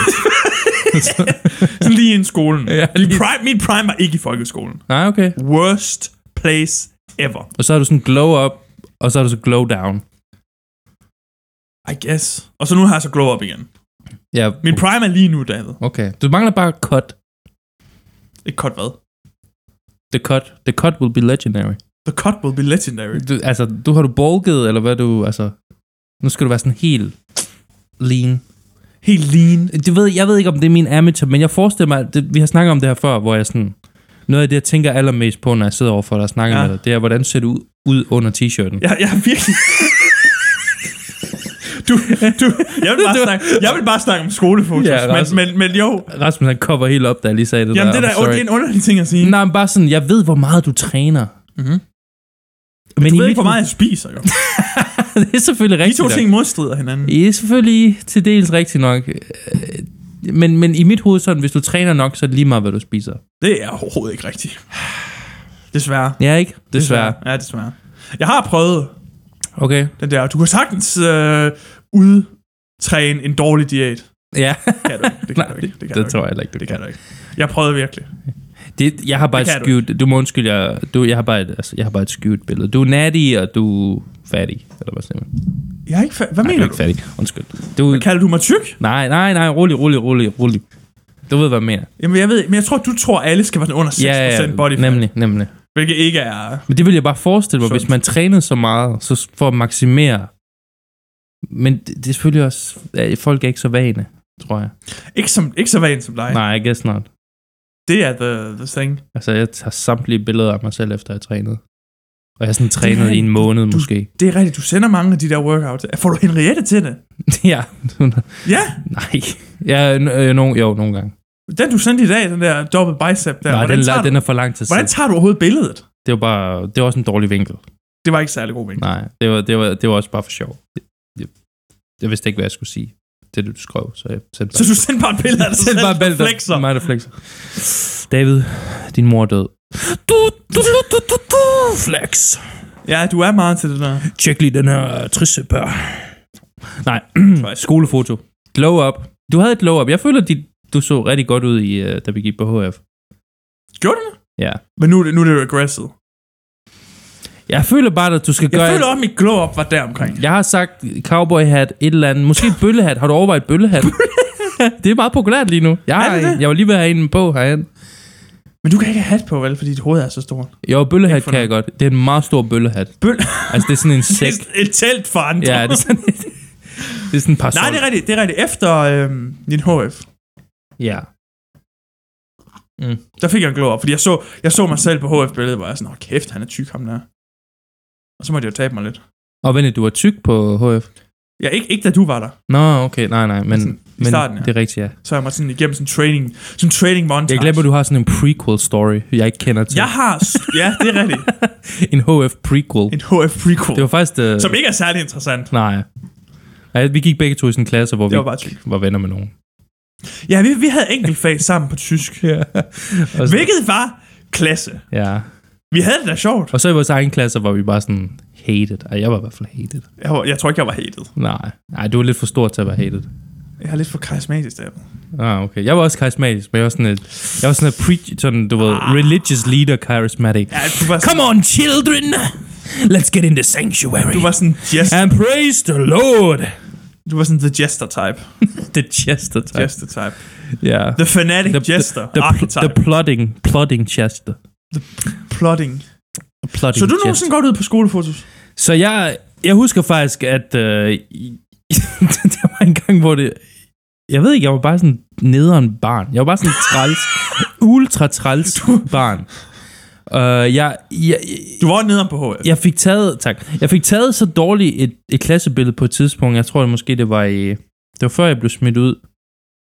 S2: Sådan lige inden skolen.
S1: Ja,
S2: Min,
S1: lige-
S2: prime, min prime var ikke i folkeskolen.
S1: Nej, okay.
S2: Worst place ever.
S1: Og så har du sådan glow up, og så har du så glow down.
S2: I guess. Og så nu har jeg så glow up igen.
S1: Ja,
S2: Min prime er lige nu, David.
S1: okay. Du mangler bare cut.
S2: Ikke cut hvad?
S1: The cut. The cut will be legendary.
S2: The cut will be legendary.
S1: Du, altså, du har du bulket, eller hvad du, altså... Nu skal du være sådan helt lean.
S2: Helt lean.
S1: det ved, jeg ved ikke, om det er min amateur, men jeg forestiller mig, at det, vi har snakket om det her før, hvor jeg sådan, noget af det, jeg tænker allermest på, når jeg sidder overfor dig og snakker
S2: Ja.
S1: ja. med dig, det er, hvordan ser du ud, ud under t-shirten?
S2: Jeg, jeg er virkelig... Du, du, jeg, vil bare snakke, jeg vil bare snakke om skolefotos,
S1: Ja,
S2: men,
S1: Rasmus.
S2: men, men jo,
S1: Rasmus, han kopper helt op, da jeg lige sagde det
S2: jamen det,
S1: der.
S2: der,
S1: I'm sorry.
S2: det er en underlig ting at sige.
S1: Nej, men bare sådan, jeg ved, hvor meget du træner.
S2: Mhm.
S1: Men
S2: Du
S1: i
S2: ved
S1: mit-
S2: ikke, hvor meget jeg spiser, jo.
S1: det er selvfølgelig
S2: De
S1: rigtigt.
S2: to
S1: nok.
S2: ting modstrider hinanden.
S1: Det er selvfølgelig til dels rigtigt nok. Øh, Men, men i mit hoved sådan, hvis du træner nok, så er det lige meget, hvad du spiser.
S2: Det er overhovedet ikke rigtigt. Desværre.
S1: Ja, ikke? Desværre.
S2: Ja, desværre. Jeg har prøvet
S1: Okay.
S2: den der, du kan sagtens øh, udtræne en dårlig diæt.
S1: Ja.
S2: Kan du ikke. Det kan
S1: Nej,
S2: du ikke. Det kan,
S1: det
S2: du,
S1: tror jeg heller ikke, du
S2: ikke. Det kan du ikke. Jeg prøvede virkelig.
S1: Det, jeg har bare
S2: Det
S1: et
S2: kan
S1: skjult... Du. må undskylde, jeg, du, jeg, har bare et, altså, jeg har bare et skjult billede. Du er natty, og du er fattig. Eller hvad siger man?
S2: Jeg er ikke fa-
S1: Nej, du
S2: Hvad mener
S1: er
S2: du?
S1: ikke fattig. Undskyld. Du,
S2: Kalder du mig tyk?
S1: nej, nej, nej. Rolig, rolig, rolig, rolig. Du ved, hvad jeg mener.
S2: Jamen, jeg ved, men jeg tror, du tror, alle skal være sådan under 6%
S1: Ja, ja,
S2: body fat.
S1: nemlig, nemlig.
S2: Hvilket ikke er...
S1: Men det vil jeg bare forestille mig,
S2: Sundt.
S1: hvis man trænede så meget, så s- for at maksimere. Men det, det er selvfølgelig også... ja, Folk er ikke så vane, tror jeg.
S2: Ikke, som, ikke så vant som dig.
S1: Nej, jeg guess not.
S2: Det er the, the thing.
S1: Altså, jeg tager samtlige billeder af mig selv, efter jeg har trænet. Og jeg har sådan
S2: Det
S1: trænet
S2: er-
S1: i en måned,
S2: du-
S1: måske.
S2: Det er rigtigt, du sender mange af de der workouts. Får du Henriette til det?
S1: ja.
S2: Ja,
S1: Nej. Ja, n- øh, no, jo, nogle gange.
S2: den du sendte i dag, den der double bicep der.
S1: Ja, Nej,
S2: hvordan,
S1: den,
S2: tager
S1: la-
S2: du,
S1: den er for lang tid
S2: hvordan
S1: siden.
S2: tager du overhovedet billedet?
S1: Det var bare... Det var også en dårlig vinkel.
S2: Det var ikke særlig god vinkel.
S1: Nej, det var, det var, det var også bare for sjov. Jeg, jeg, jeg vidste ikke, hvad jeg skulle sige. Det, du skrev, så jeg sendte
S2: Så du sendte bare et billede af dig selv,
S1: bare
S2: der
S1: bælter.
S2: flexer.
S1: Mig, der flexer. David, din mor er død. Du, du, du, du, du, du, flex.
S2: Ja, du er meget til det der.
S1: Tjek lige den her triste bør. Nej, skolefoto. Glow up. Du havde et glow up. Jeg føler, dit, du så rigtig godt ud, i, øh, da vi gik på HF.
S2: Gjorde du det?
S1: Ja.
S2: Men nu, er det- nu er det jo aggressive.
S1: Jeg føler bare, at du skal
S2: Jeg
S1: gøre...
S2: føler også, at mit glow-up var der omkring.
S1: Jeg har sagt cowboy hat, et eller andet. Måske bøllehat. Har du overvejet bøllehat? det er meget populært lige nu. Jeg, har
S2: Er det
S1: en.
S2: det?
S1: jeg var lige ved at have en på herinde.
S2: Men du kan ikke have hat på, vel? Fordi dit hoved er så stort.
S1: Jo, bøllehat
S2: Ikke for
S1: kan jeg godt. Det er en meget stor bøllehat.
S2: Bøl.
S1: Altså, det er sådan en
S2: Det
S1: sæk.
S2: er et telt for andre.
S1: ja, det er sådan, det er sådan en par
S2: Nej, det er rigtigt. Det er rigtigt. Efter øhm, din HF,
S1: Ja.
S2: der fik jeg en glow-up. Fordi jeg så, jeg så mig selv på HF-billedet, hvor jeg sådan, åh kæft, han er tyk, ham der. Og så måtte jeg jo tabe mig lidt.
S1: Og vent, lidt, du var tyk på HF?
S2: Ja, ikke, ikke da du var der.
S1: Nå, okay, nej, nej, men,
S2: Sådan, i
S1: men
S2: starten, ja.
S1: det er rigtigt, ja.
S2: Så jeg var sådan igennem sådan en training, sådan en training montage.
S1: Jeg glemmer, du har sådan en prequel story, jeg ikke kender til.
S2: Jeg har, s- ja, det er rigtigt.
S1: En HF prequel.
S2: En HF prequel.
S1: Det var faktisk... Uh...
S2: Som ikke er særlig interessant.
S1: Nej. Nej, vi gik begge to i sådan en klasse, hvor vi
S2: Det var bare tyk.
S1: var venner med nogen.
S2: Ja, vi, vi havde enkeltfag sammen på tysk.
S1: Ja. Og så,
S2: Hvilket var klasse.
S1: ja.
S2: Vi havde det da sjovt.
S1: Og så i vores egen klasse var vi bare sådan hated. Ej, jeg var i hvert fald hated.
S2: Jeg, var, jeg tror ikke, jeg var hated.
S1: Nej, nej, du var lidt for stor til at være hated.
S2: Jeg er lidt for karismatisk der.
S1: Ah, okay. Jeg var også karismatisk, men jeg var sådan et, jeg var sådan et preach, sådan, du ved,
S2: Ah.
S1: religious leader charismatic.
S2: Ja, du var,
S1: Come on, children! Let's get in the sanctuary.
S2: du var sådan, jest,
S1: And praise the Lord!
S2: du var sådan the jester type.
S1: the Chester type.
S2: Jester type.
S1: Yeah.
S2: The fanatic
S1: The-
S2: jester.
S1: The, pl-
S2: archetype.
S1: the plotting, plotting Chester.
S2: plotting.
S1: Plotting
S2: Så du
S1: Chester.
S2: nogensinde godt ud på skolefotos?
S1: Så jeg, jeg husker faktisk, at øh, i- der var en gang, hvor det... Jeg ved ikke, jeg var bare sådan nederen barn. Jeg var bare sådan en træls, ultra træls barn. Uh, jeg, jeg,
S2: Du var nede på HF.
S1: jeg fik taget, tak, jeg fik taget så dårligt et, et klassebillede på et tidspunkt. Jeg tror det måske, det var i, det var før jeg blev smidt ud.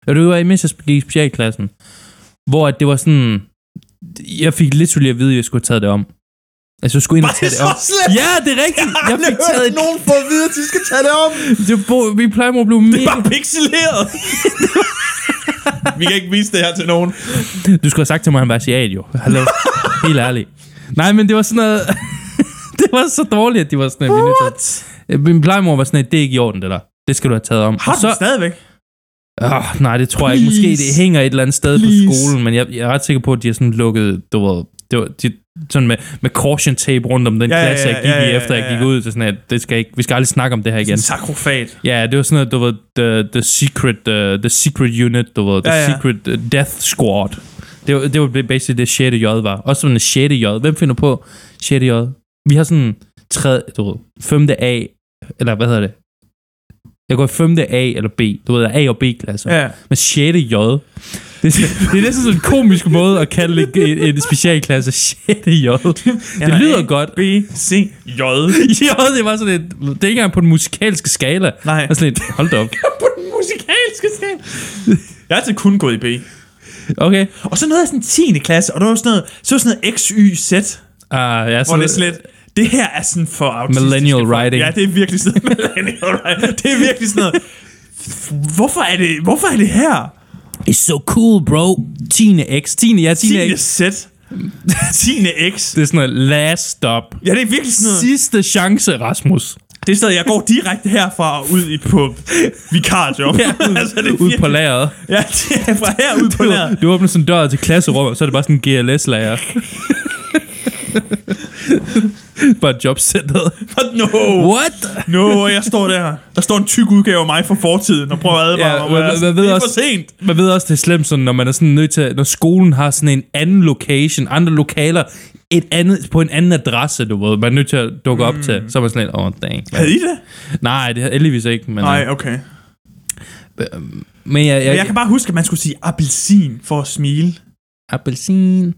S1: Og det var imens jeg gik i specialklassen. Hvor at det var sådan, jeg fik literally at vide, at jeg skulle have taget det om. Altså, jeg skulle ind og
S2: Var
S1: tage det
S2: det så
S1: om.
S2: slemt?
S1: Ja, det er rigtigt. Jeg fik taget et
S2: nogen for at vide, at de skal tage det om.
S1: det bo, vi plejer at blive
S2: Det
S1: mega...
S2: var pixeleret. Vi kan ikke vise det her til nogen.
S1: Du skulle have sagt til mig, at han var asiat, jo. Hallo. Helt ærligt. Nej, men det var sådan noget... det var så dårligt, at de var sådan
S2: What?
S1: noget. Min plejemor var sådan, at det er ikke i orden, det der. Det skal du have taget om.
S2: Har
S1: Og
S2: du
S1: så,
S2: den stadigvæk?
S1: oh, nej, det tror jeg ikke. Måske
S2: Please.
S1: det hænger et eller andet sted Please. på
S2: Please.
S1: skolen, men jeg, jeg er ret sikker på, at de har sådan lukket... Du ved, det var, de, sådan med, med caution tape rundt om den
S2: Ja,
S1: ja,
S2: ja,
S1: klasse,
S2: ja,
S1: jeg gik
S2: ja,
S1: i,
S2: ja,
S1: efter
S2: ja,
S1: jeg gik
S2: ja.
S1: ud. Så sådan, at det skal ikke, vi skal aldrig snakke om det her igen.
S2: En sakrofat.
S1: Ja, det var sådan noget, du ved, the, the, secret, uh, the secret unit, du ved, the
S2: Ja,
S1: ja,
S2: ja.
S1: ja. secret uh, death squad. Det var, det var basically det 6. J var. Også sådan en 6. J. Hvem finder på 6. J? Vi har sådan 3, du ved, 5. A, eller hvad hedder det? Jeg går i 5. A eller B. Du ved, A og B-klasser. Ja.
S2: Ja.
S1: Men 6. J, det, det, det er næsten sådan en komisk måde at kalde en, en, en specialklasse 6. J. Det
S2: Eller
S1: lyder
S2: A,
S1: godt.
S2: B, C, J.
S1: J, det var sådan et, det er ikke engang på den musikalske skala.
S2: Nej.
S1: Det er sådan et, hold da op.
S2: på den musikalske skala. Jeg har altid kun gået i B.
S1: Okay.
S2: Og så noget af sådan 10. klasse, og der var sådan noget, så var sådan noget X, Y, Z,
S1: Ah, ja,
S2: hvor
S1: så,
S2: det er slet, det her er sådan for autistiske
S1: Millennial
S2: folk.
S1: writing.
S2: Ja, det er virkelig sådan noget millennial writing. Det er virkelig sådan noget, hvorfor er det, hvorfor er det her?
S1: It's so cool, bro. 10. X. 10. Ja, 10.
S2: 10.
S1: X.
S2: Z. 10. X.
S1: Det er sådan noget last stop.
S2: Ja, det er virkelig sådan noget.
S1: Sidste chance, Rasmus.
S2: Det er sådan, jeg går direkte herfra og ud i på vikarjob.
S1: Ja, ud,
S2: altså, det er
S1: ud
S2: virkelig-
S1: på lageret.
S2: Ja, det er fra herud på lageret.
S1: Du, du åbner sådan en dør til klasserummet, og så er det bare sådan en GLS-lager. bare jobcenteret.
S2: No,
S1: What?
S2: no, jeg står der. Der står en tyk udgave af mig fra fortiden og prøver at advare
S1: Ja,
S2: mig. og jeg er
S1: man-
S2: sådan,
S1: man ved
S2: det er
S1: også-
S2: for sent.
S1: Man ved også, det er slemt, sådan, når man er sådan nødt til, når skolen har sådan en anden location, andre lokaler et andet, på en anden adresse, du ved, man er nødt til at dukke op til.
S2: Mm.
S1: Så er man sådan lidt, åh, oh, dang. mand."
S2: Havde I det?
S1: Nej, det er heldigvis ikke, men,
S2: Nej,
S1: øh,
S2: okay.
S1: men jeg, jeg,
S2: Men jeg kan bare huske, at man skulle sige appelsin for at smile.
S1: appelsin.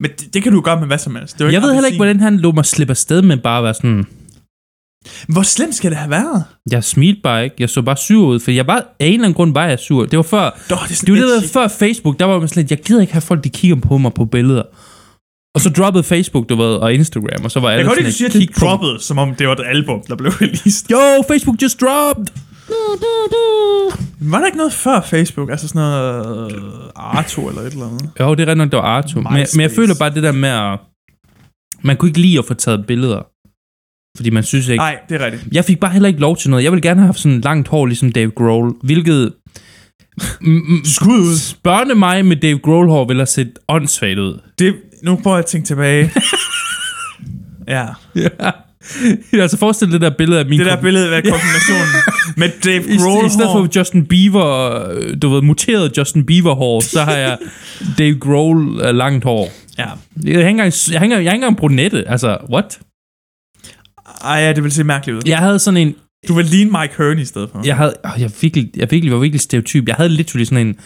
S2: Men det, det kan du jo gøre med hvad som helst. Det er jo
S1: Jeg ved heller
S2: appelsin.
S1: ikke, hvordan han lå mig slippe afsted, men bare være sådan,
S2: Hvor slemt skal det have været?
S1: jeg smilte bare ikke, jeg så bare sur ud, for jeg var, af en eller anden grund var jeg sur. Det var før,
S2: Dog, det er
S1: det
S2: sådan
S1: var det, der
S2: lidt
S1: var før Facebook, der var man sådan lidt, jeg gider ikke have folk, de kigger på mig på billeder. Og så droppede Facebook, du ved, og Instagram, og så var
S2: Jeg
S1: alle
S2: kan godt
S1: sådan lidt,
S2: ikke sige, at
S1: "Kig
S2: det
S1: på mig."
S2: droppede, som om det var et album, der blev released.
S1: Yo, Facebook just dropped! Du, du, du.
S2: Var der ikke noget før Facebook? Altså sådan noget øh, Arto eller et eller andet?
S1: Jo, det er rent nok, det var Arto. Men, jeg- men jeg
S2: MySpace.
S1: føler bare det der med at... Man kunne ikke lide at få taget billeder. Fordi man synes ikke...
S2: Nej, det er rigtigt.
S1: Jeg fik bare heller ikke lov til noget. Jeg ville gerne have haft sådan langt hår, ligesom Dave Grohl. Hvilket... M- m-
S2: Skud ud.
S1: Børne mig med Dave Grohl-hår ville have set åndssvagt ud.
S2: Det, nu prøver jeg at tænke tilbage. ja.
S1: Ja. altså forestil dig det der billede af min
S2: Det der billede af kombinationen med Dave
S1: I,
S2: Grohl.
S1: i stedet for Justin Bieber, øh, du ved, muteret Justin Bieber-hår, så har jeg Dave Grohl øh, langt hår.
S2: Ja.
S1: Jeg har ikke engang, jeg har ikke, engang- jeg har ikke engang brunette. Altså, what?
S2: Ej, ja, det ville se mærkeligt ud.
S1: Jeg havde sådan en...
S2: Du vil ligne Mike Hearn i stedet for.
S1: Jeg, havde, åh, jeg, virkelig, jeg virkelig var virkelig stereotyp. Jeg havde literally sådan en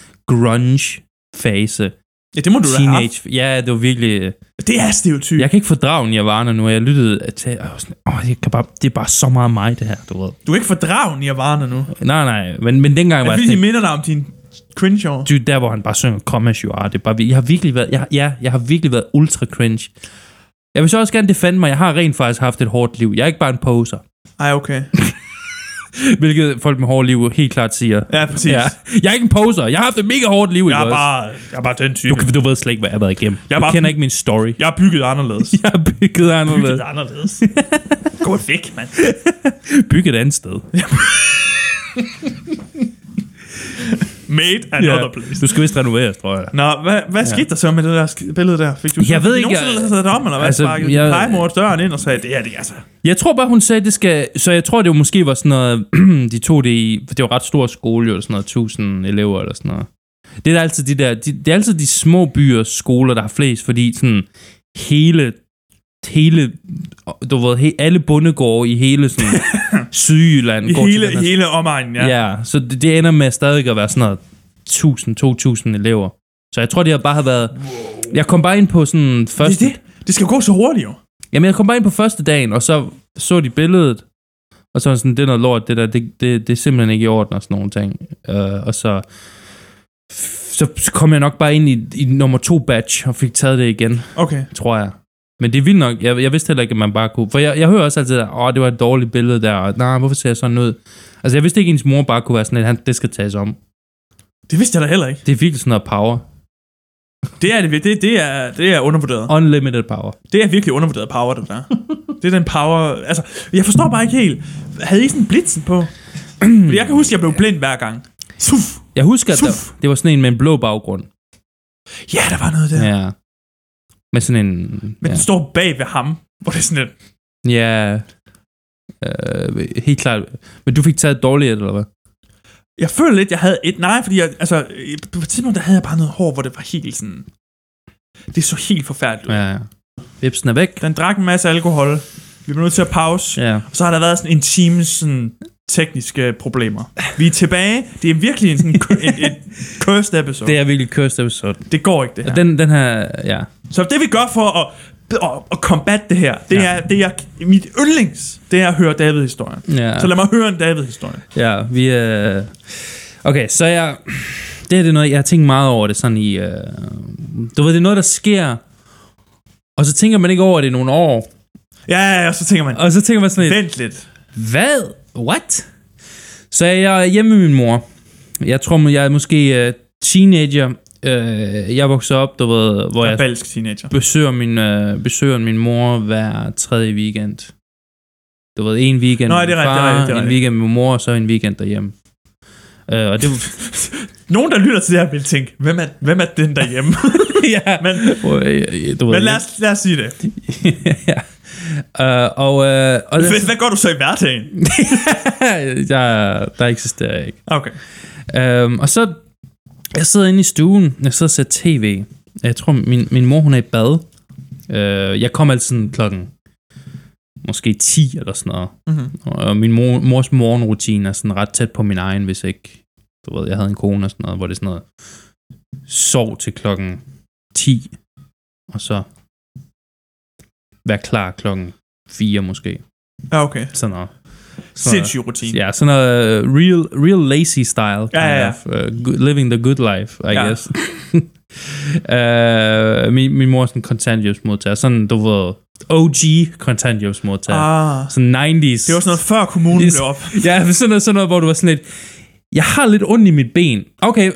S1: grunge-fase.
S2: Ja, det må du da have. haft.
S1: Teenage. Ja, det var virkelig... øh,
S2: Det er stereotyp.
S1: Jeg kan ikke fordrage Nirvana nu. Jeg lyttede til... Og jeg var sådan, åh, jeg kan bare, det er bare så meget mig, det her, du ved.
S2: Du er ikke fordragen i Nirvana nu.
S1: Nej, nej. Men, men dengang
S2: Jeg
S1: var jeg
S2: fordi, de
S1: sådan...
S2: minder dig om din cringe år.
S1: Dude, der hvor han bare synger Come as you are, det er bare, vir- jeg har virkelig været, jeg, ja, jeg har virkelig været ultra cringe. Jeg vil så også gerne defende mig, jeg har rent faktisk haft et hårdt liv. Jeg er ikke bare en poser,
S2: Ej, okay.
S1: hvilket folk med hårdt liv helt klart siger.
S2: Ja, præcis.
S1: Ja.
S2: Ja.
S1: Jeg er ikke en poser. Jeg har haft et mega hårdt liv.
S2: Jeg,
S1: ikke
S2: er
S1: også?
S2: bare, jeg er bare den type.
S1: Du, du ved slet ikke, hvad jeg har været igennem. Jeg
S2: Jeg er
S1: du
S2: bare-
S1: kender ikke min story.
S2: Jeg er bygget anderledes.
S1: Jeg har bygget anderledes.
S2: Bygget anderledes. Gå væk, mand.
S1: Bygget et andet sted.
S2: Made another place.
S1: Du skal vist renoveres, tror jeg.
S2: Nå, hvad, hvad skete der så med det der sk- billede der? Fik du
S1: Jeg ved ikke,
S2: Nogen
S1: jeg-
S2: jeg... sat om, eller hvad?
S1: Altså,
S2: Altså, Sparkede jeg...
S1: jeg-
S2: din plejemor døren ind og sagde, det her, det er altså...
S1: Jeg tror bare, hun sagde, det skal... Så jeg tror, det måske var sådan noget... de tog det i... For det var ret stor skole, jo. eller Sådan noget, 1000 elever eller sådan noget. Det er da altid de der... De, det er altid de små byers skoler, der har flest, fordi sådan hele... Hele... Du ved, he, alle bondegårde i hele sådan... Sydjylland
S2: I
S1: går til
S2: hele,
S1: den her
S2: hele omegnen, ja.
S1: Ja, ja så det, det ender med stadig at være sådan noget 1000-2000 elever. Så jeg tror, det har bare har været... Jeg kom bare ind på sådan
S2: Det,
S1: første...
S2: er det, det skal jo gå så hurtigt, jo.
S1: Jamen, jeg kom bare ind på første dagen, og så så de billedet, og så var jeg sådan, det er noget lort, det der, det, det, det er simpelthen ikke i orden og sådan nogle ting. Uh, og så, så så kom jeg nok bare ind i, i nummer to batch og fik taget det igen,
S2: Okay.
S1: tror jeg. Men det er vildt nok, jeg, jeg vidste heller ikke, at man bare kunne, for jeg, jeg hører også altid, åh, det var et dårligt billede der, og nej, hvorfor ser jeg sådan ud? Altså, jeg vidste ikke, at ens mor bare kunne være sådan, at han, det skal tages om.
S2: Det vidste jeg da heller ikke.
S1: Det er virkelig sådan noget power.
S2: Det er, det, vir- det, det er, det er undervurderet.
S1: Unlimited power.
S2: Det er virkelig undervurderet power, det der. det er den power... Altså, jeg forstår bare ikke helt. Havde I sådan en blitzen på? Fordi jeg kan huske, at jeg blev blind hver gang. Suf.
S1: Jeg husker, at
S2: Suf.
S1: der, det var sådan en med en blå baggrund.
S2: Ja, der var noget der. Ja.
S1: Ja. Med sådan en...
S2: Men
S1: ja.
S2: den står bag ved ham, hvor det er sådan et...
S1: Ja, øh, helt klart. Men du fik taget dårligt, eller hvad?
S2: Jeg føler lidt, jeg havde et... Nej, fordi jeg, altså, øh, på et tidspunkt, der havde jeg bare noget hår, hvor det var helt sådan... Det så helt forfærdeligt ud. Ja.
S1: Ja, ja. Vipsen er væk.
S2: Den drak en masse alkohol. Vi blev nødt til at pause. Ja.
S1: Ja.
S2: Og så har der været sådan en time sådan, tekniske problemer. Vi er tilbage. Det er virkelig en, sådan, en, en cursed episode.
S1: Det
S2: Det,
S1: er virkelig cursed episode.
S2: det går ikke, det her.
S1: Ja. Den, den her, ja.
S2: Så det vi gør for at, at, at combat det her, det,
S1: Ja.
S2: ja. er, det er mit yndlings, det er at høre David-historien.
S1: ja.
S2: Ja. Så lad mig høre en David-historie.
S1: Ja, vi er... Øh... Okay, så jeg... Det her det er noget, jeg har tænkt meget over det sådan i... Øh... Du ved, det er noget, der sker, og så tænker man ikke over det i nogle år.
S2: Ja, ja, ja, så tænker man,
S1: Og så tænker man sådan lidt...
S2: vent lidt.
S1: Hvad? What? Så jeg er hjemme med min mor. Jeg tror, jeg er måske uh, teenager. Uh, jeg voksede op, du ved, hvor jeg
S2: Balsk teenager.
S1: besøger min, uh, besøger min mor hver tredje weekend. Du ved, en weekend
S2: Nå,
S1: med
S2: det
S1: min
S2: er rigtigt, det er
S1: far,
S2: rigtigt, det er
S1: en
S2: rigtigt.
S1: weekend med mor, og så en weekend derhjemme. Uh, og det var...
S2: Nogen, der lytter til det her, vil tænke, hvem er, hvem er den derhjemme?
S1: ja,
S2: men,
S1: men, du ved,
S2: men lad, os, lad os sige det.
S1: ja. uh, og, uh, og
S2: Hvad, hvad gør du så i hverdagen?
S1: jeg, der eksisterer jeg ikke.
S2: Okay.
S1: Øhm, og så, jeg sidder inde i stuen, jeg sidder og ser tv. Jeg tror, min, min mor, hun er i bad, Øh, jeg kom altid sådan klokken måske 10 eller sådan noget.
S2: Mm-hmm.
S1: Og min mor, mors morgenrutine er sådan ret tæt på min egen, hvis ikke, du ved, jeg havde en kone og sådan noget, hvor det er sådan noget, sov til klokken 10, og så vær klar klokken 4 måske,
S2: Ja, okay.
S1: sådan noget. Sådan noget.
S2: Sindssyg rutine.
S1: Ja, sådan noget øh, real, real lazy style,
S2: Ja, ja, ja.
S1: Of, uh, good, living the good life, I
S2: Ja.
S1: ja. guess. uh, min, min mor er sådan en kontanthjælpsmodtager, sådan, du ved, OG kontanthjælpsmodtager.
S2: Ah,
S1: Sådan 90's.
S2: det var sådan noget, før kommunen
S1: Yes.
S2: blev op.
S1: Ja, men sådan noget, sådan noget, hvor du var sådan lidt, jeg har lidt ondt i mit ben. Okay,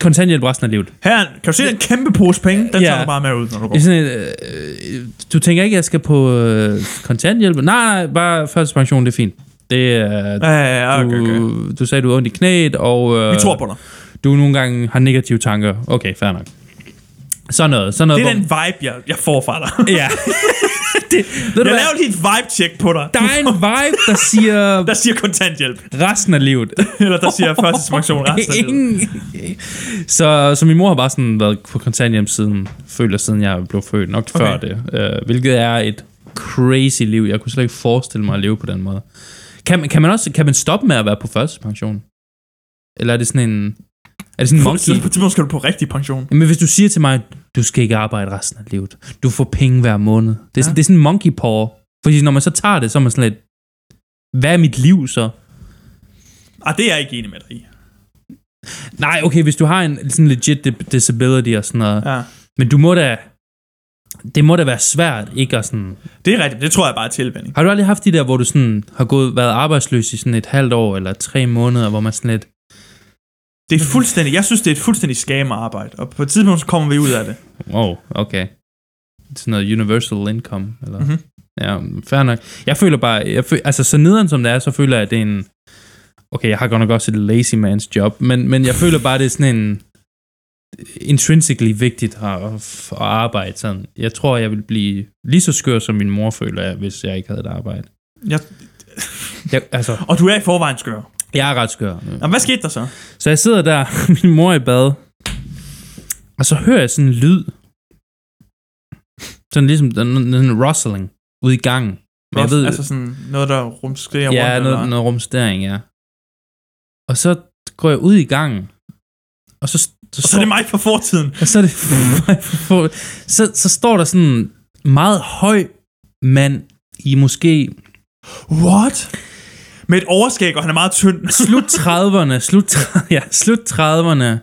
S1: kontanthjælp resten af livet.
S2: Her, kan du se den kæmpe pose penge? Den
S1: Ja.
S2: tager du bare med ud, når du går.
S1: Det er sådan lidt, øh, øh, du tænker ikke, jeg skal på øh, kontanthjælp? Nej, nej, bare førtidspension, det er fint. Det er...
S2: Ja, ja, ja, okay, okay.
S1: Du, du sagde, du har ondt i knæet, og øh,
S2: Vi tror på dig.
S1: du nogle gange har negative tanker. Okay, fair nok. Sådan noget. Sådan
S2: Det
S1: noget
S2: er den vibe, jeg, jeg får fra dig.
S1: hvor- Ja. det, ved du
S2: Jeg
S1: hvad?
S2: laver lige et vibe-check på dig.
S1: Der er en vibe, der siger
S2: Der siger kontanthjælp.
S1: resten af livet.
S2: Eller der siger førtidspension resten af livet.
S1: Ingen. Så, så min mor har bare sådan været på kontanthjem siden, føler siden jeg blev født, nok okay. før det. Øh, hvilket er et crazy liv. Jeg kunne slet ikke forestille mig at leve på den måde. Kan, man- kan man også kan man stoppe med at være på førstepension? Eller er det sådan en... Er det sådan en monkey?
S2: På et tidspunkt skal du på rigtig pension.
S1: Men hvis du siger til mig, du skal ikke arbejde resten af livet. Du får penge hver måned. Det er, ja.
S2: Ja.
S1: sådan, det er sådan en monkey paw. Fordi når man så tager det, så er man sådan lidt... Hvad er mit liv så?
S2: Ah, det er jeg ikke enig med dig i.
S1: Nej, okay, hvis du har en sådan legit di- disability og sådan noget.
S2: Ja.
S1: Men du må da... Det må da være svært, ikke at sådan...
S2: Det er rigtigt. Det tror jeg bare er tilvænding.
S1: Har du aldrig haft de der, hvor du sådan har gået, været arbejdsløs i sådan et halvt år eller tre måneder, hvor man sådan lidt...
S2: Det er fuldstændig, jeg synes, det er et fuldstændig skamearbejde, og på et tidspunkt så kommer vi ud af det.
S1: Wow, okay. Sådan noget universal income, eller...
S2: Mhm.
S1: Mm-hmm. Ja, fair nok. Jeg føler bare... Jeg føl, altså, så nederen som det er, så føler jeg, at det er en... Okay, jeg har godt nok også et lazy man's job, men, men jeg føler bare, det er sådan en intrinsically vigtigt at, at arbejde sådan. Jeg tror, jeg ville blive lige så skør, som min mor føler, jeg, hvis jeg ikke havde et arbejde.
S2: Jeg,
S1: Jeg, altså,
S2: og du er i forvejen skør.
S1: jeg er ret skør.
S2: Jamen, hvad skete der så?
S1: Så jeg sidder der, min mor er i bad, og så hører jeg sådan en lyd. Sådan ligesom der er noget- sådan en rustling ude i gangen. Men jeg ved,
S2: altså sådan noget, der rumskriger
S1: ja,
S2: rundt,
S1: noget,
S2: eller?
S1: noget rumstering, ja. Og så går jeg ud i gangen, og så, så,
S2: Og så er det mig fra fortiden.
S1: og så, er det, så, så står der sådan en meget høj mand i måske
S2: What? Med et overskæg, og han er meget tynd.
S1: slut 30'erne, slut, ja, slut 30'erne.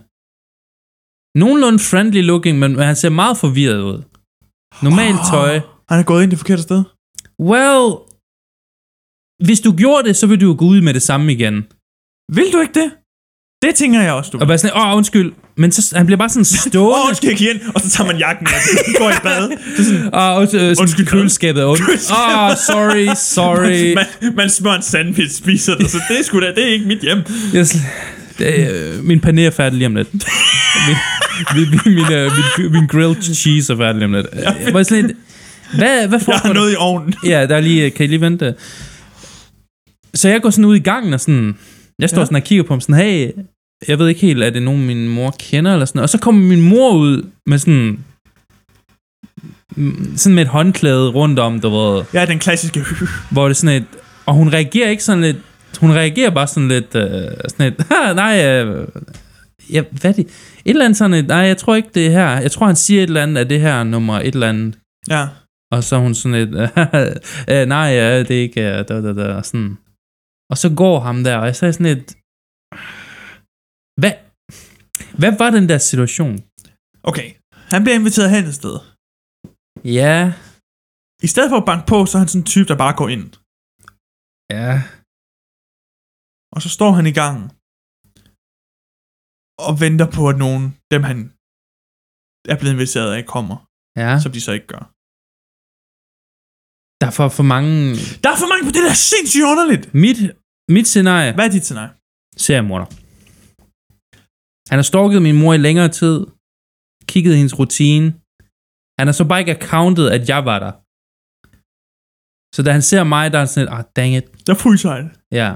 S1: Nogenlunde friendly looking, men, men han ser meget forvirret ud. Normalt
S2: Ah.
S1: tøj.
S2: Han er gået ind det forkerte sted.
S1: Well, hvis du gjorde det, så ville du jo gå ud med det samme igen.
S2: Vil du ikke det? Det tænker jeg også, du
S1: Og bare sådan, åh, undskyld. Men så, han bliver bare sådan
S2: Åh,
S1: stående.
S2: undskyld, jeg gik ind, og så tager man jakken af, og går i bad. Det er sådan,
S1: Og øh, sådan
S2: Undskyld,
S1: undskyld,
S2: hvad?
S1: køleskabet er ondt.
S2: Køleskabet.
S1: Åh, oh, sorry, sorry.
S2: man, man smører en sandwich, spiser det, så det er sgu da, det er ikke mit hjem.
S1: Jeg sl- det, øh, min pané er færdig lige om lidt. min, min, min, min, øh, min, min grilled cheese er færdig lige om lidt. Jeg var sådan lidt, hvad, hvad
S2: Jeg
S1: foregår
S2: har
S1: der?
S2: noget i ovnen.
S1: Ja, der er lige, øh, kan I lige vente? Så jeg går sådan ud i gangen og sådan, jeg står
S2: Ja.
S1: ja. sådan og kigger på ham sådan, hey, jeg ved ikke helt, er det nogen min mor kender eller sådan noget. Og så kommer min mor ud med sådan, mm, sådan med et håndklæde rundt om, du ved,
S2: Ja, den klassiske
S1: hvor det er sådan et, og hun reagerer ikke sådan lidt, hun reagerer bare sådan lidt, øh, sådan et, "Ha, nej, øh, ja, hvad er det? Et eller andet sådan et, nej, jeg tror ikke det er her. Jeg tror, han siger et eller andet af det her nummer, et eller andet.
S2: Ja.
S1: Og så er hun sådan lidt, øh, nej, ja, det er ikke, øh, da, da, da, og sådan. Og så går ham der, og jeg sagde sådan lidt, hvad, hvad var den der situation?
S2: Okay. Han bliver inviteret hen et sted.
S1: Ja,
S2: I stedet for at banke på, så er han sådan en type, der bare går ind.
S1: ja,
S2: Og så står han i gangen. Og venter på, at nogen, dem han er blevet inviteret af, kommer.
S1: ja.
S2: Som de så ikke gør.
S1: Der er for, for mange,
S2: Der er for mange på det der sindssygt underligt.
S1: mit, mit scenarie,
S2: Hvad er dit scenarie?
S1: seriemorder. Han har stalket min mor i længere tid, kigget i hendes rutine. Han har så bare ikke accountet, at jeg var der. Så da han ser mig, der er han sådan lidt, ah, dang it.
S2: Der fryser han.
S1: Ja.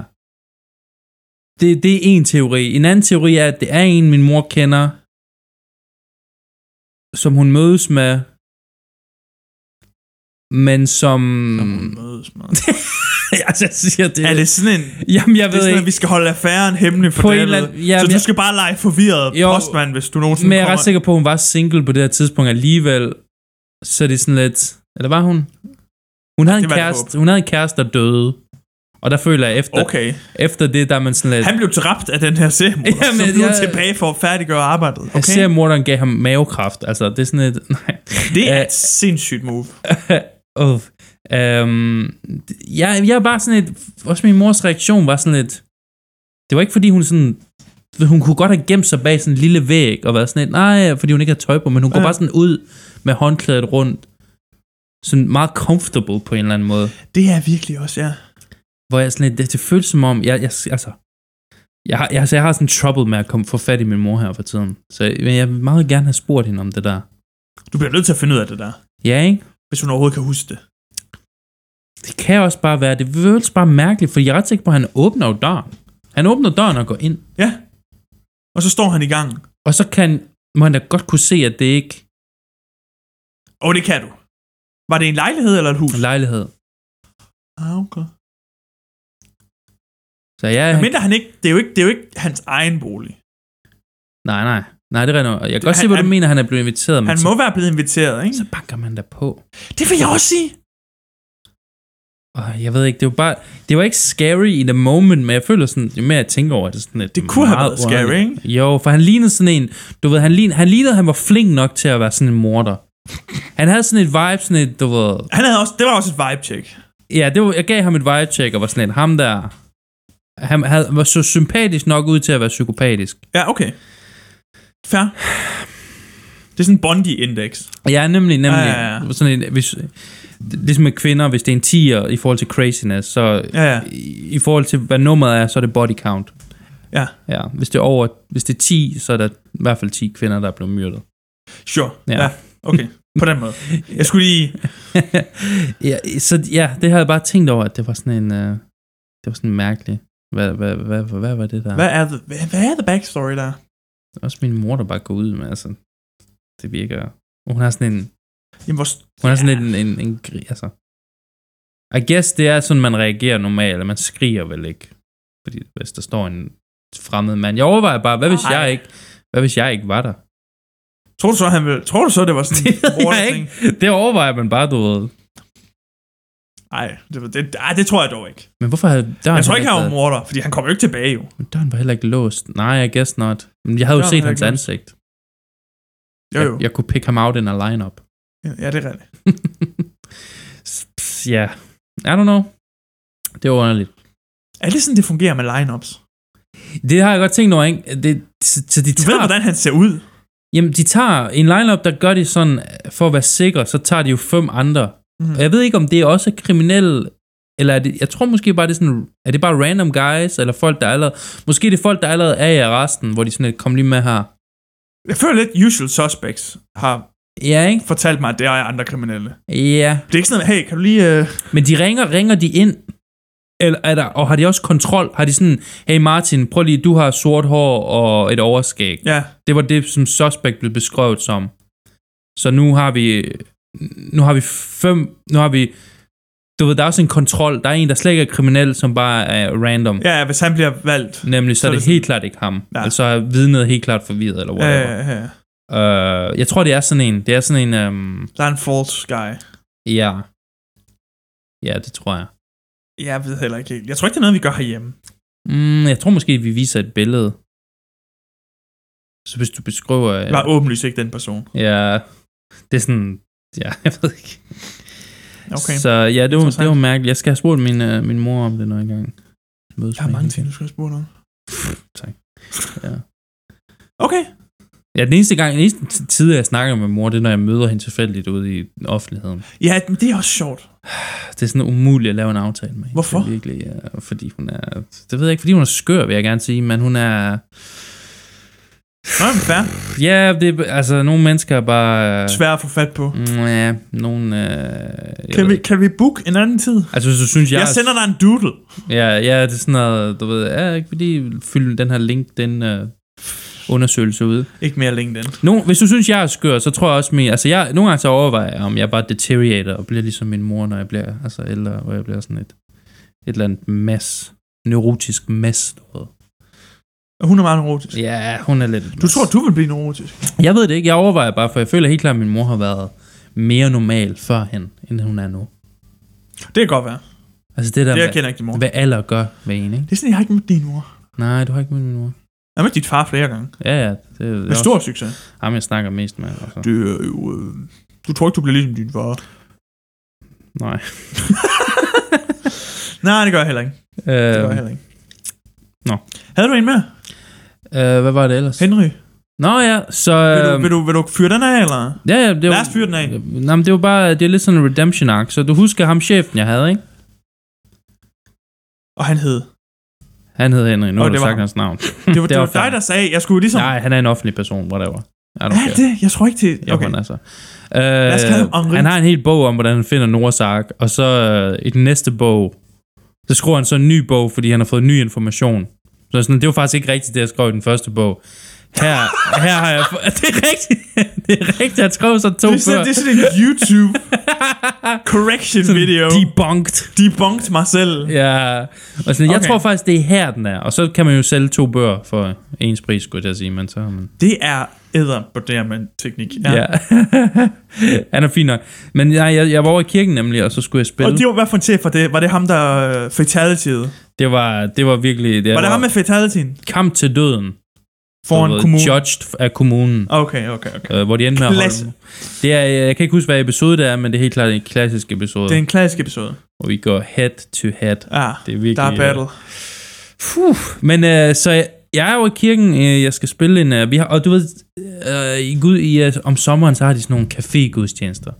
S1: Det, det er en teori. En anden teori er, at det er en, min mor kender, som hun mødes med, men som...
S2: Mm. Mødes, man.
S1: altså, jeg siger det.
S2: er det sådan en...
S1: Jamen, jeg
S2: Det er
S1: ved
S2: sådan, at
S1: ikke.
S2: vi skal holde affæren hemmelig for
S1: På en
S2: David.
S1: eller anden- Jamen,
S2: så du
S1: jeg-
S2: skal bare lege forvirret
S1: Jo,
S2: postmand, hvis du nogensinde
S1: Men jeg er ret
S2: kommer...
S1: sikker på, at hun var single på det her tidspunkt alligevel. Så det er sådan lidt... Eller var hun? Hun havde, en
S2: det var det
S1: kæreste, hun havde en kæreste, der døde. Og der føler jeg, efter, okay.
S2: Okay.
S1: efter det, der er man sådan lidt...
S2: Han blev dræbt af den her seriemorder,
S1: Jamen,
S2: så nu er
S1: jeg-
S2: tilbage for at færdiggøre arbejdet.
S1: Okay.
S2: Okay?
S1: Ser, at morderen gav ham mavekræft. Altså, det er sådan et... Nej.
S2: Det er
S1: Øh,
S2: et sindssygt move.
S1: Uh, øhm, jeg, jeg er bare sådan lidt... Også min mors reaktion var sådan lidt... Det var ikke, fordi hun sådan... Hun kunne godt have gemt sig bag sådan en lille væg og været sådan lidt... Nej, fordi hun ikke havde tøj på, men hun ja. går
S2: Ja.
S1: bare sådan ud med håndklædet rundt. Sådan meget comfortable på en eller anden måde.
S2: Det er virkelig også, ja.
S1: Hvor jeg sådan lidt... Det, det føles som om... Jeg, jeg, altså, jeg, har, jeg, altså, jeg har sådan trouble med at komme, få fat i min mor her for tiden. Så men jeg vil meget gerne have spurgt hende om det der.
S2: Du bliver nødt til at finde ud af det der,
S1: Ja, ikke?
S2: hvis hun overhovedet kan huske det.
S1: Det kan også bare være, det føles bare mærkeligt, for jeg er ret sikker på, at han åbner jo døren. Han åbner døren og går ind,
S2: Ja. Og så står han i gang.
S1: og så kan, må han da godt kunne se, at det ikke
S2: Og det kan du. Var det en lejlighed eller et hus?
S1: er en lejlighed.
S2: ah, okay.
S1: Så ja,
S2: Men han ikke, det, er jo ikke, det er jo ikke hans egen bolig.
S1: nej, nej, nej, det er rigtigt. nok. Jeg kan godt
S2: Han-
S1: se, hvad du
S2: han-
S1: mener, han er blevet inviteret, men
S2: Han
S1: så,
S2: må være blevet inviteret, ikke?
S1: så banker man da på.
S2: Det vil jeg også sige.
S1: Og jeg ved ikke, det var bare, det var ikke scary in the moment, men jeg føler sådan, jo mere jeg tænker over det, sådan at
S2: Det kunne have været scary, ikke?
S1: Jo, for han lignede sådan en, du ved, han lignede, han lignede, at han var flink nok til at være sådan en morder. Han havde sådan et vibe, sådan et, du ved,
S2: Han havde også, det var også et vibe-check.
S1: Ja, det var, jeg gav ham et vibe-check og var sådan lidt, ham der, han havde, var så sympatisk nok ud til at være psykopatisk.
S2: Ja, okay. Fair. Det er sådan en Bondi-index.
S1: Jeg er nemlig, nemlig
S2: Ja, ja, ja.
S1: sådan en, hvis, ligesom med kvinder, hvis det er en 10'er i forhold til craziness, så
S2: Ja, ja.
S1: i, i forhold til, hvad nummeret er, så er det body count.
S2: Ja.
S1: Ja, hvis det er over, hvis det er 10, så er der i hvert fald 10 kvinder, der er blevet myrdet.
S2: Sure.
S1: Ja.
S2: Ja. ja. Okay. På den måde. Jeg skulle lige...
S1: Ja, så ja, det havde jeg bare tænkt over, at det var sådan en, øh, det var sådan mærkeligt. Hvad, hvad, hvad, hvad, hvad var det der?
S2: Hvad er, the, hvad, hvad er the backstory der?
S1: Også min mor, der bare går ud med, altså, det virker, hun har sådan en,
S2: Jamen, hvor...
S1: Hun er sådan lidt en, en, en, gri- altså... I guess det er sådan, man reagerer normalt, eller man skriger vel ikke. Fordi hvis der står en fremmed mand. Jeg overvejer bare, hvad hvis
S2: Ej.
S1: jeg ikke, hvad hvis jeg ikke var der?
S2: Tror du så, han ville... Tror du så, det var sådan
S1: Det ved jeg
S2: morderting?
S1: ikke. Det overvejer man bare, du ved.
S2: Ej, det, var- det, ej, det tror jeg dog ikke.
S1: Men hvorfor havde døren
S2: Jeg tror ikke,
S1: heller
S2: han var
S1: været-
S2: morder, fordi han kom jo ikke tilbage jo.
S1: Men Døren var heller ikke låst. Nej, I guess not. Men jeg havde jo
S2: Døren
S1: set
S2: var
S1: hans
S2: ikke
S1: ansigt.
S2: Jo, jo.
S1: Jeg, jeg kunne pick ham out in a lineup.
S2: Ja, det er rigtigt.
S1: Pff, Ja. I don't know. Det var underligt.
S2: Er det sådan, det fungerer med lineups?
S1: Det har jeg godt tænkt over, ikke? Det, så, så de
S2: Du
S1: tager
S2: ved, hvordan han ser ud.
S1: Jamen, de tager en lineup, der gør de sådan, øh, for at være sikker, så tager de jo fem andre.
S2: Mhm.
S1: Mm. Og jeg ved ikke, om det er også kriminelle, eller er det, jeg tror måske bare, det er sådan, er det bare random guys, eller folk, der allerede, måske er det folk, der allerede er i arresten, hvor de sådan lidt, kom lige med her.
S2: Jeg føler lidt, Usual Suspects har
S1: Ja, ikke?
S2: fortalt mig, at det er andre kriminelle.
S1: Ja.
S2: Det er ikke sådan, hey, kan du lige... Øh...
S1: Men de ringer, ringer de ind, eller er der, og har de også kontrol? Har de sådan, hey Martin, prøv lige, du har sort hår og et overskæg.
S2: Ja,
S1: Det var det, som suspect blev beskrevet som. Så nu har vi, nu har vi fem, nu har vi, du ved, der er også en kontrol. Der er en, der slet ikke er kriminel, som bare er random. Ja.
S2: ja, hvis han bliver valgt.
S1: Nemlig, så,
S2: Så
S1: er
S2: er
S1: det
S2: det
S1: helt klart ikke ham. Ja.
S2: Ja.
S1: Altså er vidnet helt klart forvirret, eller
S2: Ja,
S1: whatever.
S2: ja, ja.
S1: Øh, jeg tror, det er sådan en, det er sådan en, øhm,
S2: Der er en false guy.
S1: ja. Ja, det tror jeg.
S2: Jeg ved heller ikke helt. Jeg tror ikke, det er noget, vi gør herhjemme.
S1: Mm, jeg tror måske, vi viser et billede. Så hvis du beskriver... øh,
S2: Jeg var åbenlyst ikke den person.
S1: Ja, det er sådan... Ja, jeg ved ikke.
S2: Okay.
S1: Så ja, det var,
S2: Interessant.
S1: det var mærkeligt. Jeg skal have spurgt min, øh, min mor om det, når jeg engang mødes
S2: Der er
S1: med
S2: mange
S1: hende.
S2: ting, du skal spørge om.
S1: Tak. Ja.
S2: Okay.
S1: ja, den eneste gang, den eneste t- tid, jeg snakker med mor, det er, når jeg møder hende tilfældigt ude i offentligheden.
S2: Ja, men det er også sjovt.
S1: Det er sådan umuligt at lave en aftale med hende.
S2: Hvorfor?
S1: Det er virkelig, ja, fordi hun er... Det ved jeg ikke, fordi hun er skør, vil jeg gerne sige, men hun er...
S2: Nå, men fair.
S1: Ja, det, er- altså, nogle mennesker er bare... Øh,
S2: Svært at få fat på.
S1: mm, ja, nogle... Øh, jeg
S2: Kan
S1: ved
S2: vi,
S1: ikke.
S2: kan vi booke en anden tid?
S1: Altså, hvis du synes, jeg...
S2: Jeg
S1: er-
S2: sender dig en doodle.
S1: Ja, ja, det er sådan noget, du ved, ja, ikke fordi fylde den her link, den... Øh, undersøgelse ude.
S2: Ikke mere LinkedIn.
S1: Nogen, hvis du synes, jeg er skør, så tror jeg også, min, altså jeg, nogle gange så overvejer jeg, om jeg bare deteriorater og bliver ligesom min mor, når jeg bliver, altså eller hvor jeg bliver sådan et, et eller andet mas, neurotisk mas. du ved.
S2: Og Hun er meget neurotisk.
S1: Ja, hun er lidt et
S2: Du
S1: mas.
S2: tror, du vil blive neurotisk.
S1: Jeg ved det ikke, jeg overvejer bare, for jeg føler helt klart, at min mor har været mere normal førhen, end hun er nu.
S2: Det kan godt være.
S1: Altså det der
S2: Det jeg
S1: med,
S2: kender ikke din mor.
S1: hvad alder gør ved en, ikke?
S2: Det er sådan, jeg har ikke mødt din mor.
S1: Nej, du har ikke mødt min mor.
S2: Jeg har mødt dit far flere gange.
S1: Ja, ja. Det, det
S2: Med
S1: er
S2: stor
S1: også
S2: succes.
S1: ham, jeg snakker mest med. Og så.
S2: Det er jo... Øh... Du tror ikke, du bliver ligesom din far.
S1: Nej.
S2: Nej, det gør jeg heller ikke. Det gør jeg
S1: Øh,
S2: heller ikke.
S1: nå.
S2: Havde du en mere?
S1: øh, hvad var det ellers?
S2: Henry,
S1: Nå ja, så...
S2: vil, du,
S1: øhm,
S2: vil, du, vil du fyre den af, eller?
S1: Ja, ja, det
S2: Lad os
S1: var,
S2: fyre den af.
S1: Nå, men det var bare, det er lidt sådan en redemption arc, så du husker ham chefen, jeg havde, ikke?
S2: Og han hed.
S1: Han hed Henrik, nu
S2: Åh,
S1: har du
S2: det var
S1: sagt
S2: ham.
S1: hans navn.
S2: Det var, det
S1: var
S2: var, det var dig,
S1: fair.
S2: der sagde, jeg skulle ligesom...
S1: Nej, han er en offentlig person, whatever. I don't
S2: Ja,
S1: care.
S2: det, jeg tror ikke det.
S1: Jo,
S2: Okay.
S1: han, altså.
S2: os kalde ham
S1: Øh,
S2: Henri.
S1: han har en hel bog om, hvordan han finder Norsak, og så øh, i den næste bog, så skriver han så en ny bog, fordi han har fået ny information. Så sådan, det var faktisk ikke rigtigt, det jeg skrev i den første bog. Her, her har jeg... få- Det er rigtigt. Det er rigtigt, han skrev så to
S2: Det er, sådan,
S1: før.
S2: det er sådan en YouTube correction video.
S1: Debunked.
S2: Debunked mig selv.
S1: Ja, og sådan, okay. jeg
S2: Okay.
S1: tror faktisk, det er her, den er. Og så kan man jo sælge to bøger for ens pris, skulle jeg til at sige. Men så har man...
S2: Det er æder på det her med teknik.
S1: Ja. ja. Han er fin nok. Men nej, jeg, jeg var over i kirken nemlig, og så skulle jeg
S2: Og
S1: spille.
S2: det var, hvad for en chef var det? Var det ham, der øh, fatality'ede?
S1: Det var, det var virkelig... Det
S2: Var det ham med fatality'en?
S1: kamp til døden.
S2: Foran
S1: Du ved,
S2: kommunen?
S1: Judged af kommunen.
S2: Okay, okay, okay.
S1: Øh, hvor de endte med at
S2: Klasse.
S1: holde... Det er, jeg kan ikke huske, hvad episode det er, men det er helt klart en klassisk episode,
S2: Det er en klassisk episode.
S1: hvor vi går head to head.
S2: Ja,
S1: Det er virkelig... øh,
S2: der er battle.
S1: Puh, men øh, så jeg, jeg er jo i kirken, øh, jeg skal spille en... Øh, vi har, og du ved, øh, i Gud, i, øh, om sommeren, så har de sådan nogle café-gudstjenester.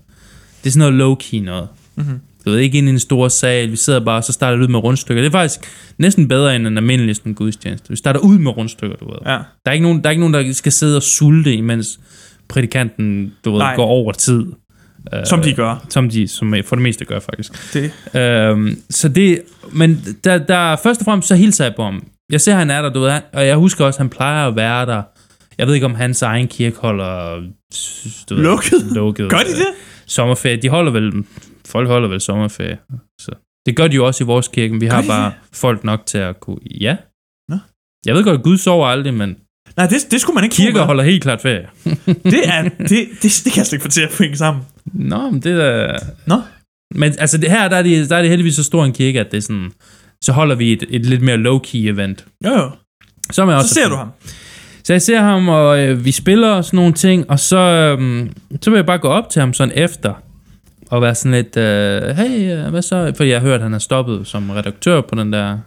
S1: Det er sådan noget low-key noget.
S2: Mhm.
S1: Du ved, ikke ind i en stor sal, vi sidder bare, og så starter det ud med rundstykker. Det er faktisk næsten bedre end en almindelig sådan gudstjeneste. Vi starter ud med rundstykker, du ved.
S2: Ja.
S1: Der er ikke nogen, der, er ikke nogen, der skal sidde og sulte, imens prædikanten, du ved,
S2: Nej.
S1: går over tid. Øh,
S2: Som de gør.
S1: som de som for det meste gør, faktisk.
S2: Det.
S1: Øhm, så det, men der, der, først og fremmest så hilser jeg på ham. Jeg ser, han er der, du ved, han- og jeg husker også, han plejer at være der. Jeg ved ikke, om hans egen kirke holder... Du ved,
S2: Lukket?
S1: lukket øh,
S2: Gør de det?
S1: Sommerferie. De holder vel... Folk holder vel sommerferie. Så. Det gør de jo også i vores kirke, men vi har
S2: de
S1: bare folk nok til at kunne... Ja.
S2: Nå.
S1: Jeg ved godt, at Gud sover aldrig, men
S2: Nej, det, det skulle man ikke tro,
S1: kirker
S2: man.
S1: holder helt klart ferie.
S2: Det, er, det, det, det kan jeg slet ikke få til at hænge sammen.
S1: Nå, men det er...
S2: Nå.
S1: Men altså det her, der er det, der er det heldigvis så stor en kirke, at det er sådan... Så holder vi et, et lidt mere low-key event.
S2: Jo, jo.
S1: Som er
S2: Så
S1: også
S2: ser du ham.
S1: Så jeg ser ham, og øh, vi spiller og sådan nogle ting, og så, øhm, så vil jeg bare gå op til ham sådan efter, og være sådan lidt, øh, hey, øh, hvad så? Fordi jeg har hørt, at han er stoppet som redaktør på den der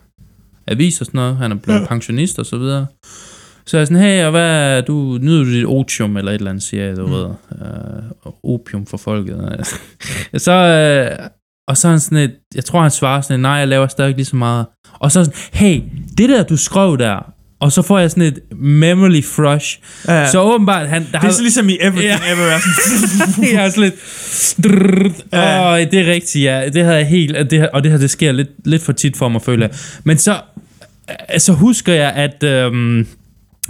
S1: avis og sådan noget. Han er blevet
S2: Ja.
S1: pensionist og så videre. Så er jeg sådan, hey, og hvad, du, nyder du dit otium eller et eller andet, siger jeg, du mm. ved. Øh, og opium for folket. så, øh, og så er han sådan lidt, jeg tror, han svarer sådan lidt, nej, jeg laver stadig lige så meget. Og så er han sådan, hey, det der, du skrev der, og så får jeg sådan et memory flush.
S2: Ja,
S1: Ja.
S2: så,
S1: Så åbenbart, han... Der
S2: det er så ligesom i Everything Ever. er sådan-
S1: jeg er sådan lidt... Drrrt,
S2: Ja.
S1: Åh, det er rigtigt, ja. Det havde jeg helt... at Det her, og det her, det sker lidt, lidt for tit for mig, føler jeg. Men så, øh, så husker jeg, at... Øhm,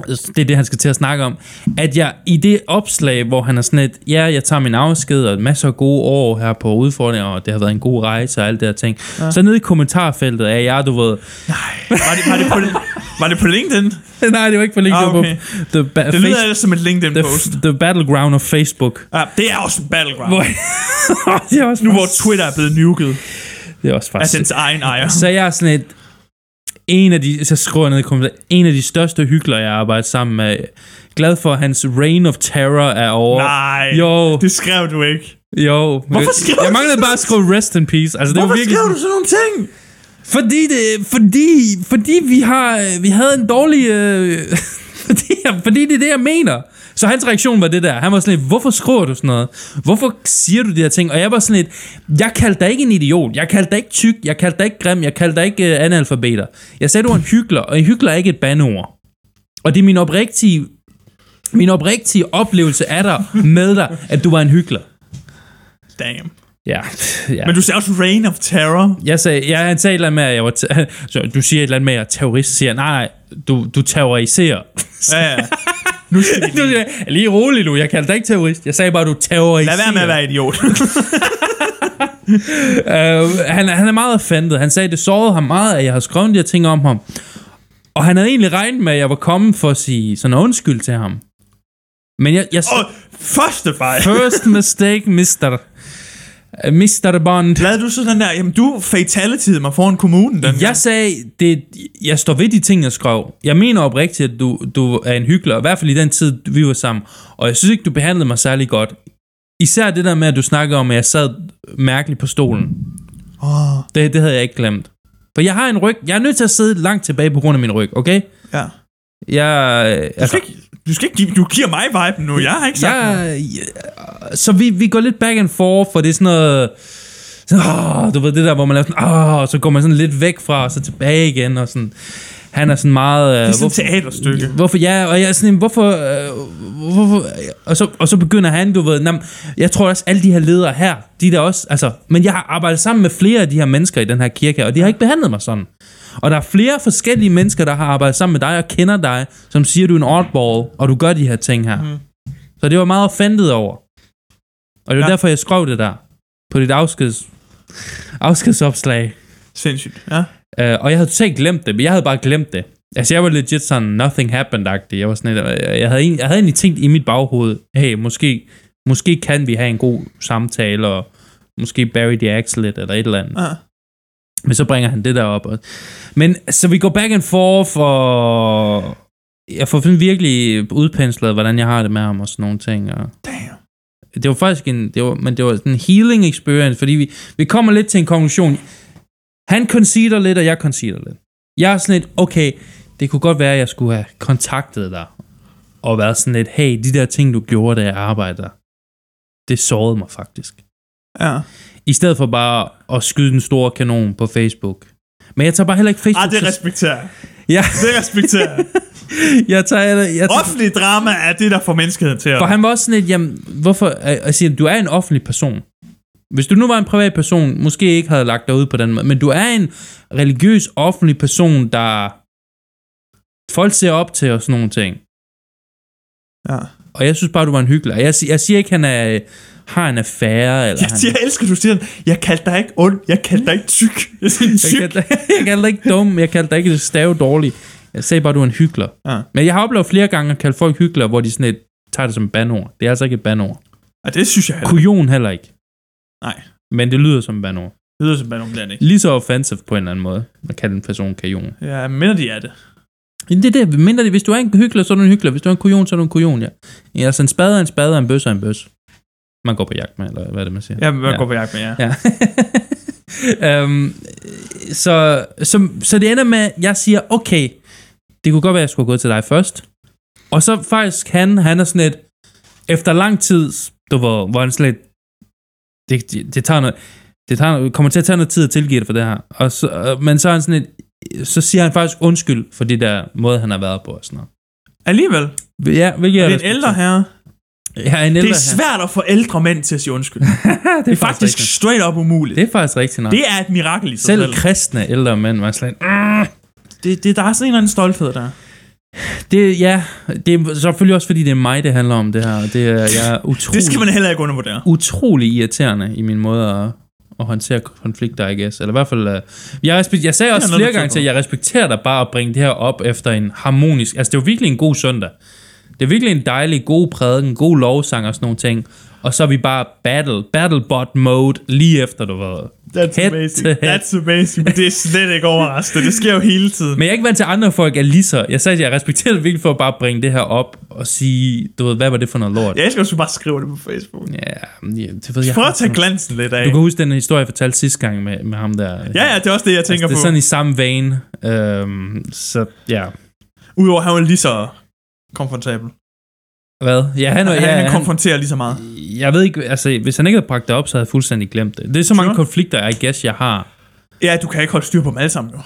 S1: det er det, han skal til at snakke om. At jeg i det opslag, hvor han er sådan lidt, ja, jeg tager min afsked, og masser af gode år her på udfordringer, og det har været en god rejse og alt det der ting. Ja. Så nede i kommentarfeltet er jeg, du ved...
S2: Var det, var, det på, var det på LinkedIn?
S1: Nej, det var ikke for længe
S2: Ah,
S1: det var
S2: okay.
S1: på the, ba-
S2: Det
S1: face-
S2: lyder ellers som et
S1: the,
S2: LinkedIn-post.
S1: the battleground of Facebook.
S2: Ja, det er også en battleground.
S1: Hvor, det er også
S2: Nu hvor Twitter er blevet nuket
S1: Det er også
S2: af
S1: faktisk...
S2: dens egen ejer.
S1: Så jeg er sådan et... En af de, så skriver jeg ned i kommentaren, en af de største hyggeler, jeg har arbejdet sammen med. Glad for, at hans reign of terror er over.
S2: Nej,
S1: Jo,
S2: det skrev du ikke.
S1: jo.
S2: Hvorfor skrev
S1: jeg
S2: du
S1: manglede bare at skrive rest in peace. Altså, det var
S2: Hvorfor
S1: virkelig,
S2: skrev du sådan nogle ting?
S1: Fordi, det, fordi, fordi vi, har, vi havde en dårlig... Øh, fordi, fordi det er det, jeg mener. Så hans reaktion var det der. Han var sådan lidt, hvorfor skriver du sådan noget? Hvorfor siger du de her ting? Og jeg var sådan lidt, jeg kaldte dig ikke en idiot. Jeg kaldte dig ikke tyk. Jeg kaldte dig ikke grim. Jeg kaldte dig ikke øh, analfabeter. Jeg sagde, du var en hyggelig, og en hyggelig er ikke et bandeord. Og det er min oprigtige, min oprigtige oplevelse af dig med dig, at du var en hyggelig.
S2: Damn.
S1: Ja, ja.
S2: Men du sagde også Reign of Terror.
S1: Jeg sagde, ja, han sagde et eller andet med, at jeg var t- så du siger et eller andet med, at jeg er terrorist siger, nej, nej, du, du terroriserer.
S2: Ja, ja. Nu skal vi
S1: Du
S2: lige...
S1: siger, lige rolig nu, jeg kaldte dig ikke terrorist. Jeg sagde bare, du terroriserer.
S2: Lad være med at være idiot.
S1: Øh, han, er- han er meget offended. Han sagde, det sårede ham meget, at jeg har skrevet de her ting om ham. Og han havde egentlig regnet med, at jeg var kommet for at sige sådan undskyld til ham. Men jeg... jeg
S2: Og første fejl.
S1: First mistake, mister. Øh, Mr. Bond.
S2: Lad du så sådan der, jamen du fatalityede mig foran kommunen den
S1: Jeg sagde, det, jeg står ved de ting, jeg skrev. Jeg mener oprigtigt, at du, du er en hyggelig, i hvert fald i den tid, vi var sammen. Og jeg synes ikke, du behandlede mig særlig godt. Især det der med, at du snakkede om, at jeg sad mærkeligt på stolen.
S2: Åh,
S1: Det, det havde jeg ikke glemt. For jeg har en ryg. Jeg er nødt til at sidde langt tilbage på grund af min ryg, okay?
S2: ja.
S1: Jeg,
S2: Du
S1: altså,
S2: skal ikke, du skal ikke give, du giver mig viben nu, jeg har ikke sagt noget.
S1: jeg, jeg, så vi, vi går lidt back and forth, for det er sådan noget... Sådan, åh, du ved det der, hvor man laver sådan... Åh, og så går man sådan lidt væk fra, og så tilbage igen, og sådan... Han er sådan meget... Øh,
S2: Det er sådan
S1: hvorfor-
S2: et teaterstykke.
S1: Hvorfor ja, og jeg er sådan, en, hvorfor, øh, hvorfor og, så, og så begynder han, du ved, nam, jeg tror også, alle de her ledere her, de der også, altså, men jeg har arbejdet sammen med flere af de her mennesker i den her kirke, her, og de har ikke behandlet mig sådan. Og der er flere forskellige mennesker, der har arbejdet sammen med dig og kender dig, som siger, du er en oddball, og du gør de her ting her. Mm. Så det var meget offentligt over. Og det var
S2: Ja.
S1: ja. derfor, jeg skrev det der, på dit afskeds, afskedsopslag.
S2: Sindssygt, ja.
S1: Øh, og jeg havde totalt glemt det, men jeg havde bare glemt det. Altså, jeg var legit sådan nothing happened-agtig. Jeg, var sådan, lidt, øh, jeg, havde, egentlig- jeg havde egentlig tænkt i mit baghoved, hey, måske, måske kan vi have en god samtale, og måske bury the axe lidt, eller et eller andet.
S2: ja.
S1: Men så bringer han det der op. og- Men så vi går back and forth, og jeg får sådan virkelig udpenslet, hvordan jeg har det med ham og sådan nogle ting. Og
S2: Damn.
S1: det var faktisk en, det var, men det var sådan en healing experience, fordi vi, vi kommer lidt til en konklusion. Han conceder lidt, og jeg conceder lidt. Jeg er sådan lidt, okay, det kunne godt være, at jeg skulle have kontaktet dig, og været sådan lidt, hey, de der ting, du gjorde, da jeg arbejdede, det sårede mig faktisk.
S2: Ja.
S1: I stedet for bare at skyde den store kanon på Facebook. Men jeg tager bare heller ikke Facebook.
S2: Ah, det
S1: til-
S2: respekterer jeg.
S1: ja,
S2: Det respekterer jeg.
S1: jeg tager, heller- jeg tager,
S2: Offentlig drama er det, der får menneskeheden til at...
S1: For han var også sådan lidt, jamen, hvorfor, jeg siger, du er en offentlig person. Hvis du nu var en privat person, måske ikke havde lagt dig ud på den måde, men du er en religiøs offentlig person, der folk ser op til og sådan nogle ting.
S2: Ja.
S1: Og jeg synes bare, du var en hyggelig. Jeg, siger- jeg siger ikke, han er, har en affære. Eller
S2: Jeg,
S1: han,
S2: jeg elsker, du siger, jeg kaldte dig ikke ond, jeg kaldte dig ikke tyk. Jeg siger,
S1: jeg,
S2: tyk.
S1: kaldte, dig- jeg kaldte dig ikke dum, jeg kaldte dig ikke stave dårlig. Jeg sagde bare, du er en hyggelig.
S2: Ja.
S1: Men jeg har oplevet flere gange at kalde folk hyggelige, hvor de sådan lidt, tager det som et bandord. Det er altså ikke et bandord.
S2: Og det synes jeg heller.
S1: Kujon heller ikke.
S2: Nej.
S1: Men det lyder som et bandord.
S2: Det lyder som Manon Bland, ikke?
S1: lige så offensive på en eller anden måde, at kalde en person kajon.
S2: Ja, minder de er det.
S1: Jamen, det er det, mindre det, hvis du er en hyggelig, så er du en hyggelig, hvis du er en kujon, så er du en kujon, ja. Ja, altså en spade er en spade, og en bøsse er en bøsse. Man går på jagt med, eller hvad er det, man siger?
S2: Ja, men jeg
S1: Ja.
S2: går på jagt med jer.
S1: Ja. øhm, så, så, så det ender med, at jeg siger, okay, det kunne godt være, at jeg skulle gå til dig først. Og så faktisk han, han er sådan lidt, efter lang tid, du var, hvor han sådan lidt, det, det, det tager noget, det tager, kommer til at tage noget tid at tilgive det for det her. Og så, øh, men så er han sådan lidt, så siger han faktisk undskyld for det der måde, han har været på og sådan noget.
S2: Alligevel,
S1: Ja, hvilket
S2: det
S1: jeg
S2: er en ældre
S1: respekterer.
S2: herre.
S1: Ja, en ældre
S2: Det er svært at få ældre mænd til at sige undskyld.
S1: her.
S2: Det er faktisk
S1: rigtigt.
S2: straight up umuligt.
S1: Det er faktisk rigtigt nok.
S2: Det er et mirakel i sig selv.
S1: Selv kristne ældre mænd var sådan lidt,
S2: Det, det, der er sådan en eller anden stolthed der.
S1: Det, ja, det er selvfølgelig også, fordi det er mig, det handler om det her. og Det er, jeg er utrolig,
S2: Det skal man heller ikke undervurdere.
S1: utrolig irriterende i min måde at, at håndtere konflikter, I guess. Eller i hvert fald, øh, jeg, respekt, jeg sagde
S2: er
S1: også
S2: noget,
S1: flere
S2: du tænker
S1: gange til, at
S2: på.
S1: jeg respekterer dig bare at bringe det her op efter en harmonisk... Altså, det var virkelig en god søndag. Det er virkelig en dejlig, god prædiken, god lovsang og sådan nogle ting. Og så er vi bare battle, battlebot mode lige efter, du ved.
S2: That's
S1: Head
S2: amazing.
S1: to head.
S2: That's amazing. Men det er slet ikke overraskende. Det sker jo hele tiden.
S1: Men jeg er ikke vant til, at andre folk er lige så... Jeg sagde, at jeg respekterer det virkelig for at bare bringe det her op og sige, du ved, hvad var det for noget lort?
S2: Jeg elsker, at du bare skriver det på Facebook.
S1: Ja, ja, det ved jeg.
S2: Prøv at tage glansen lidt af.
S1: Du kan huske den historie, jeg fortalte sidste gang med, med ham der.
S2: Ja, ja, det er også det, jeg
S1: altså,
S2: tænker
S1: det er
S2: på.
S1: sådan i samme vein. Øhm, så ja.
S2: Udover at han var lige så konfrontabel.
S1: Hvad? Ja, han,
S2: Han,
S1: var-
S2: ja,
S1: ja,
S2: han,
S1: han,
S2: konfronterer lige så meget.
S1: jeg ved ikke, altså hvis han ikke havde bragt det op, så havde jeg fuldstændig glemt det. Det er så mange
S2: Sure.
S1: konflikter, I guess, jeg har.
S2: Ja, du kan ikke holde styr på dem alle sammen, jo.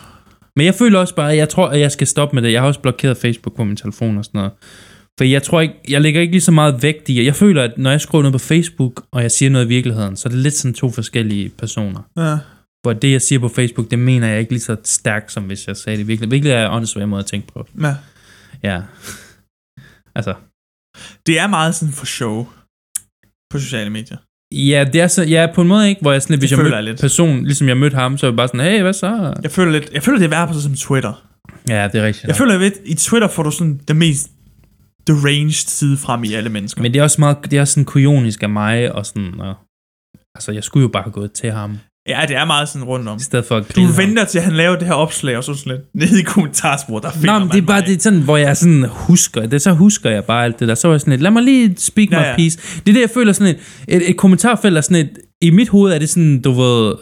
S1: Men jeg føler også bare, at jeg tror, at jeg skal stoppe med det. Jeg har også blokeret Facebook på min telefon og sådan noget. For jeg tror ikke, jeg lægger ikke lige så meget vægt i, jeg føler, at når jeg skriver noget på Facebook, og jeg siger noget i virkeligheden, så er det lidt sådan to forskellige personer.
S2: Ja.
S1: hvor det, jeg siger på Facebook, det mener jeg ikke lige så stærkt, som hvis jeg sagde det virkelig. Virkelig er en åndssvær måde at tænke på.
S2: ja.
S1: Ja. altså,
S2: Det er meget sådan for show på sociale medier.
S1: Ja, det er så, ja, på en måde ikke, hvor jeg sådan lidt,
S2: Det
S1: hvis jeg
S2: føler
S1: mødte
S2: jeg lidt.
S1: person, ligesom jeg mødte ham, så er jeg bare sådan, hey, hvad så?
S2: Jeg føler, lidt, jeg føler det er værre på sådan som Twitter.
S1: Ja, det er rigtigt.
S2: Jeg
S1: nok.
S2: føler lidt, i Twitter får du sådan den mest deranged side frem i alle mennesker.
S1: Men det er også meget, det er også sådan kujonisk af mig, og sådan, og, altså, jeg skulle jo bare have gået til ham,
S2: Ja, det er meget sådan rundt om.
S1: i stedet for at
S2: Du
S1: grille ham.
S2: venter til, at han laver det her opslag, og så sådan lidt nede i kommentarsporet, der finder
S1: Nå, men det er
S2: man
S1: bare
S2: mig.
S1: det er sådan, hvor jeg sådan husker det, så husker jeg bare alt det der. Så var jeg sådan lidt, lad mig lige speak
S2: Ja,
S1: my
S2: ja.
S1: piece. Det er det, jeg føler sådan et, et, et kommentarfelt er sådan et, i mit hoved er det sådan, du ved,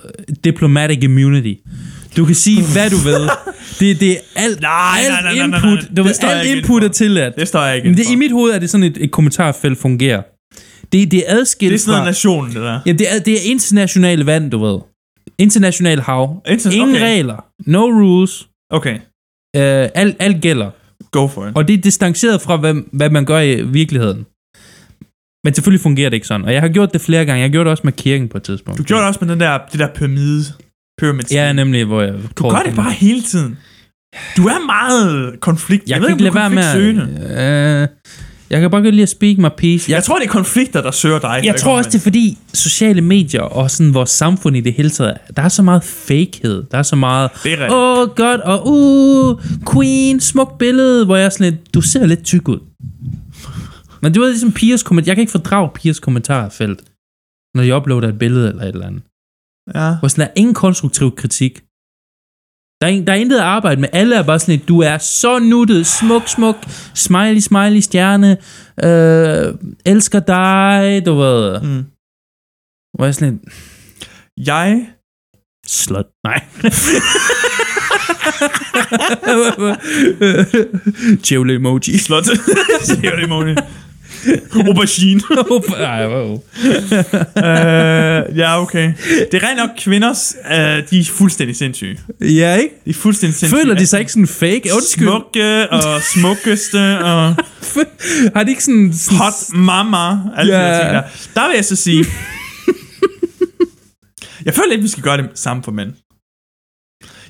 S1: diplomatic immunity. Du kan sige, hvad du ved. Det, det er alt,
S2: Nej, nej,
S1: alt
S2: nej, nej, nej, nej.
S1: input, Du
S2: Det
S1: ved,
S2: står jeg
S1: alt
S2: ikke
S1: input er
S2: inden
S1: tilladt.
S2: Det står jeg ikke
S1: Men det,
S2: inden
S1: i
S2: for.
S1: mit hoved er det sådan, et, et kommentarfelt fungerer. Det, det er adskilt
S2: Det er sådan noget
S1: fra...
S2: nation, det der.
S1: Ja, det er, det er internationalt vand, du ved. Internationalt hav.
S2: Interna-
S1: Ingen
S2: okay.
S1: regler. No rules.
S2: Okay,
S1: Øh, alt, alt gælder.
S2: go for it.
S1: Og det er distanceret fra, hvad, hvad man gør i virkeligheden. Men selvfølgelig fungerer det ikke sådan. Og jeg har gjort det flere gange. Jeg gjorde det også med kirken på et tidspunkt.
S2: Du gjorde det også med den der, det der pyramide. pyramid
S1: Ja, nemlig, hvor jeg...
S2: Du gør det bare hele tiden. Du er meget konflikt.
S1: Jeg, jeg kan ikke lade være med... at- Øh, jeg kan bare godt lide at speak my piece.
S2: Jeg,
S1: Jeg,
S2: jeg tror, det er konflikter, der søger dig.
S1: jeg tror også, det er fordi sociale medier og sådan vores samfund i det hele taget, der er så meget fakehed. Der er så meget...
S2: Det er rigtigt.
S1: Åh, oh, godt, og uh, queen, smukt billede, hvor jeg er sådan lidt, du ser lidt tyk ud. Men det var ligesom pigers kommentar. Jeg kan ikke fordrage pigers kommentarfelt, når de uploader et billede eller et eller andet.
S2: Ja.
S1: Hvor sådan, der er ingen konstruktiv kritik. Der er, in, der er intet at arbejde med. Alle er bare sådan lidt, du er så nuttet, smuk, smuk, smiley, smiley, stjerne, øh, elsker dig, du ved.
S2: Mm.
S1: Hvor jeg er sådan lidt,
S2: Jeg
S1: Slut. Nej. Jævle emoji.
S2: slot. Siger det, Moni. Aubergine.
S1: Nej, wow.
S2: uh, ja, okay. Det er rent nok kvinders, uh, de er fuldstændig sindssyge.
S1: Ja, ikke?
S2: De er fuldstændig sindssyge.
S1: Føler de sig ikke sådan fake? Undskyld.
S2: Smukke og smukkeste og
S1: Har de ikke sådan... sådan
S2: hot mama. Alle yeah. de der
S1: Ja.
S2: ting der. Der vil jeg så sige... jeg føler ikke, vi skal gøre det samme for mænd.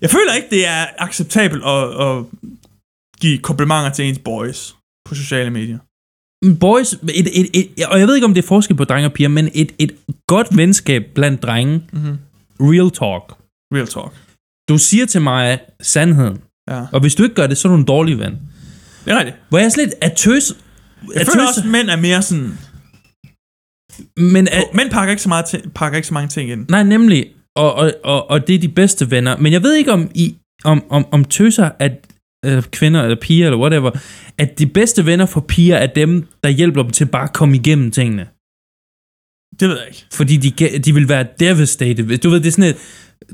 S2: Jeg føler ikke, det er acceptabelt at, at give komplimenter til ens boys på sociale medier.
S1: Boys, et, et, et, og jeg ved ikke, om det er forskel på drenge og piger, men et, et godt venskab blandt drenge,
S2: Mhm.
S1: real talk.
S2: Real talk.
S1: Du siger til mig sandheden,
S2: Ja.
S1: og hvis du ikke gør det, så er du en dårlig ven.
S2: Det er rigtigt.
S1: Hvor jeg er sådan lidt, er tøs...
S2: Jeg
S1: er
S2: føler
S1: tøs-
S2: også, at mænd er mere sådan...
S1: men er,
S2: Mænd pakker ikke så, meget ti- pakker ikke så mange ting ind.
S1: Nej, nemlig. Og, og, og, og det er de bedste venner. Men jeg ved ikke, om, I, om, om, om tøser, at øh, kvinder eller piger eller whatever, at de bedste venner for piger er dem, der hjælper dem til bare at komme igennem tingene.
S2: Det ved jeg ikke.
S1: Fordi de, kan- de vil være devastated. hvis- Du ved, det er sådan et,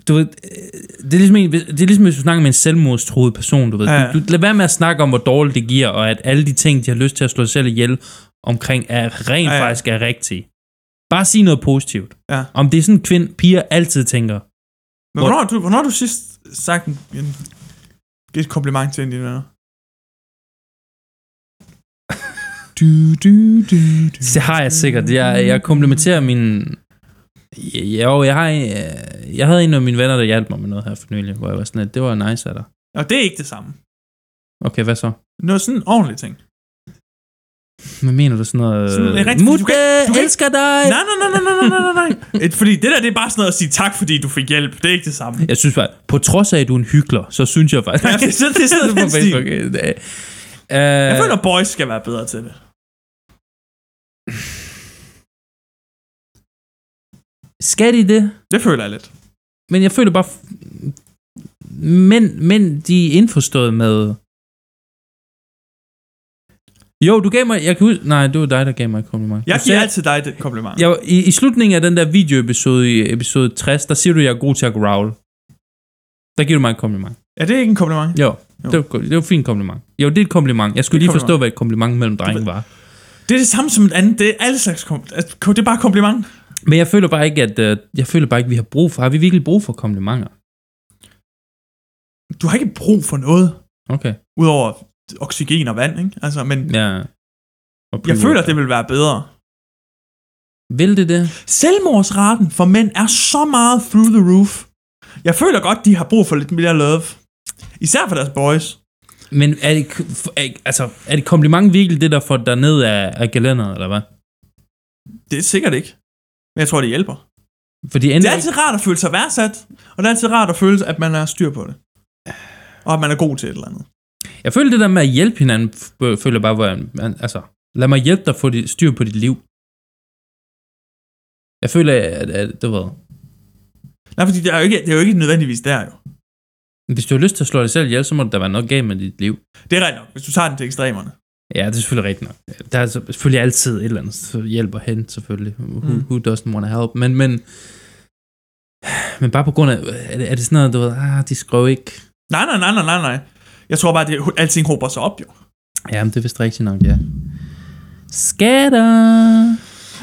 S1: du ved, øh, det, er ligesom en, det er ligesom, hvis du snakker med en selvmordstruet person, du ved.
S2: Ja.
S1: Ja. Du, du, lad være med at snakke om, hvor dårligt det giver, og at alle de ting, de har lyst til at slå sig selv ihjel omkring, er rent
S2: Ja,
S1: ja,
S2: ja.
S1: ja. faktisk er rigtige. Bare sig noget positivt.
S2: Ja.
S1: Om det er sådan, kvind, piger altid tænker,
S2: Men hvornår har du, hvornår har du sidst sagt en, en, et kompliment til en af dine venner? du, du, du, du.
S1: Det har jeg sikkert. Jeg, jeg komplementerer min... Ja, Jo, jeg, har, en- øh, jeg havde en af mine venner, der hjalp mig med noget her for nylig, hvor jeg var sådan, at det var nice af dig.
S2: Og det er ikke det samme.
S1: Okay, hvad så?
S2: Noget sådan en ordentlig ting.
S1: Hvad mener du sådan noget?
S2: Sådan, det er rigtigt,
S1: Mutte,
S2: du kan- du kan-
S1: elsker dig!
S2: Nej, nej, nej, nej, nej, nej, nej, nej. Et- Fordi det der, det er bare sådan noget at sige tak, fordi du fik hjælp. Det er ikke det samme.
S1: Jeg synes bare, på trods af, at du er en hyggelig, så synes jeg faktisk...
S2: Ja, det er sådan, det er sådan
S1: på
S2: den stil.
S1: Facebook. øh, det er-
S2: Jeg
S1: Øh,
S2: føler, at boys skal være bedre til det.
S1: skal de det?
S2: Det føler jeg lidt.
S1: Men jeg føler bare... Men, men de er indforstået med... Jo, du gav mig... Jeg kan huske... Nej, det var dig, der gav mig et kompliment.
S2: Jeg
S1: Du
S2: giver
S1: sagde-
S2: altid dig det kompliment.
S1: Jeg, i, I slutningen af den der videoepisode i episode 60, der siger du, at jeg er god til at growl. Der giver du mig et kompliment.
S2: Er det ikke en kompliment?
S1: Jo,
S2: Jo.
S1: jo. det var go- det var et fint kompliment. Jo, det er et kompliment. Jeg skulle
S2: Det er
S1: lige
S2: et
S1: forstå, hvad et kompliment mellem drenge var.
S2: Det er det samme som et andet. Det er alle slags kompliment. Det er bare kompliment.
S1: Men jeg føler bare ikke, at øh, jeg føler bare ikke, vi har brug for. Har vi virkelig brug for komplimenter?
S2: Du har ikke brug for noget.
S1: Okay.
S2: Udover oxygen og vand, ikke? Altså, men
S1: Ja. Og
S2: jeg
S1: pre-workout.
S2: føler, det vil være bedre.
S1: Vil det det?
S2: Selvmordsraten for mænd er så meget through the roof. Jeg føler godt, de har brug for lidt mere love. Især for deres boys.
S1: Men er det, er, altså, er det kompliment virkelig det, der får dig ned af, af gelænderet, eller hvad?
S2: Det er sikkert ikke. Men jeg tror, det hjælper.
S1: Fordi
S2: Det
S1: enten,
S2: er altid rart at føle sig værdsat, og det er altid rart at føle, at man har styr på det. Og at man er god til et eller andet.
S1: jeg føler det der med at hjælpe hinanden, f- øh, føler jeg bare, hvor jeg, man- altså, lad mig hjælpe dig at få dit, styr på dit liv. Jeg føler, at, at det var...
S2: Nej, fordi det er jo ikke, det er jo ikke nødvendigvis der jo.
S1: Hvis du har lyst til at slå dig selv ihjel, så må der være noget galt med dit liv.
S2: Det er rigtigt nok, hvis du tager den til ekstremerne.
S1: Ja, det er selvfølgelig rigtigt nok. Der er så- selvfølgelig altid et eller andet, så hjælper hen selvfølgelig. Who,
S2: Mm.
S1: mm. who doesn't want to help? Men, men, men bare på grund af, er det, er det sådan noget, du ved, ah, de skrev ikke.
S2: Nej, nej, nej, nej, nej, nej. Jeg tror bare, at det, alting hober sig op jo.
S1: Jamen, det er vist rigtigt nok, ja. Skatter!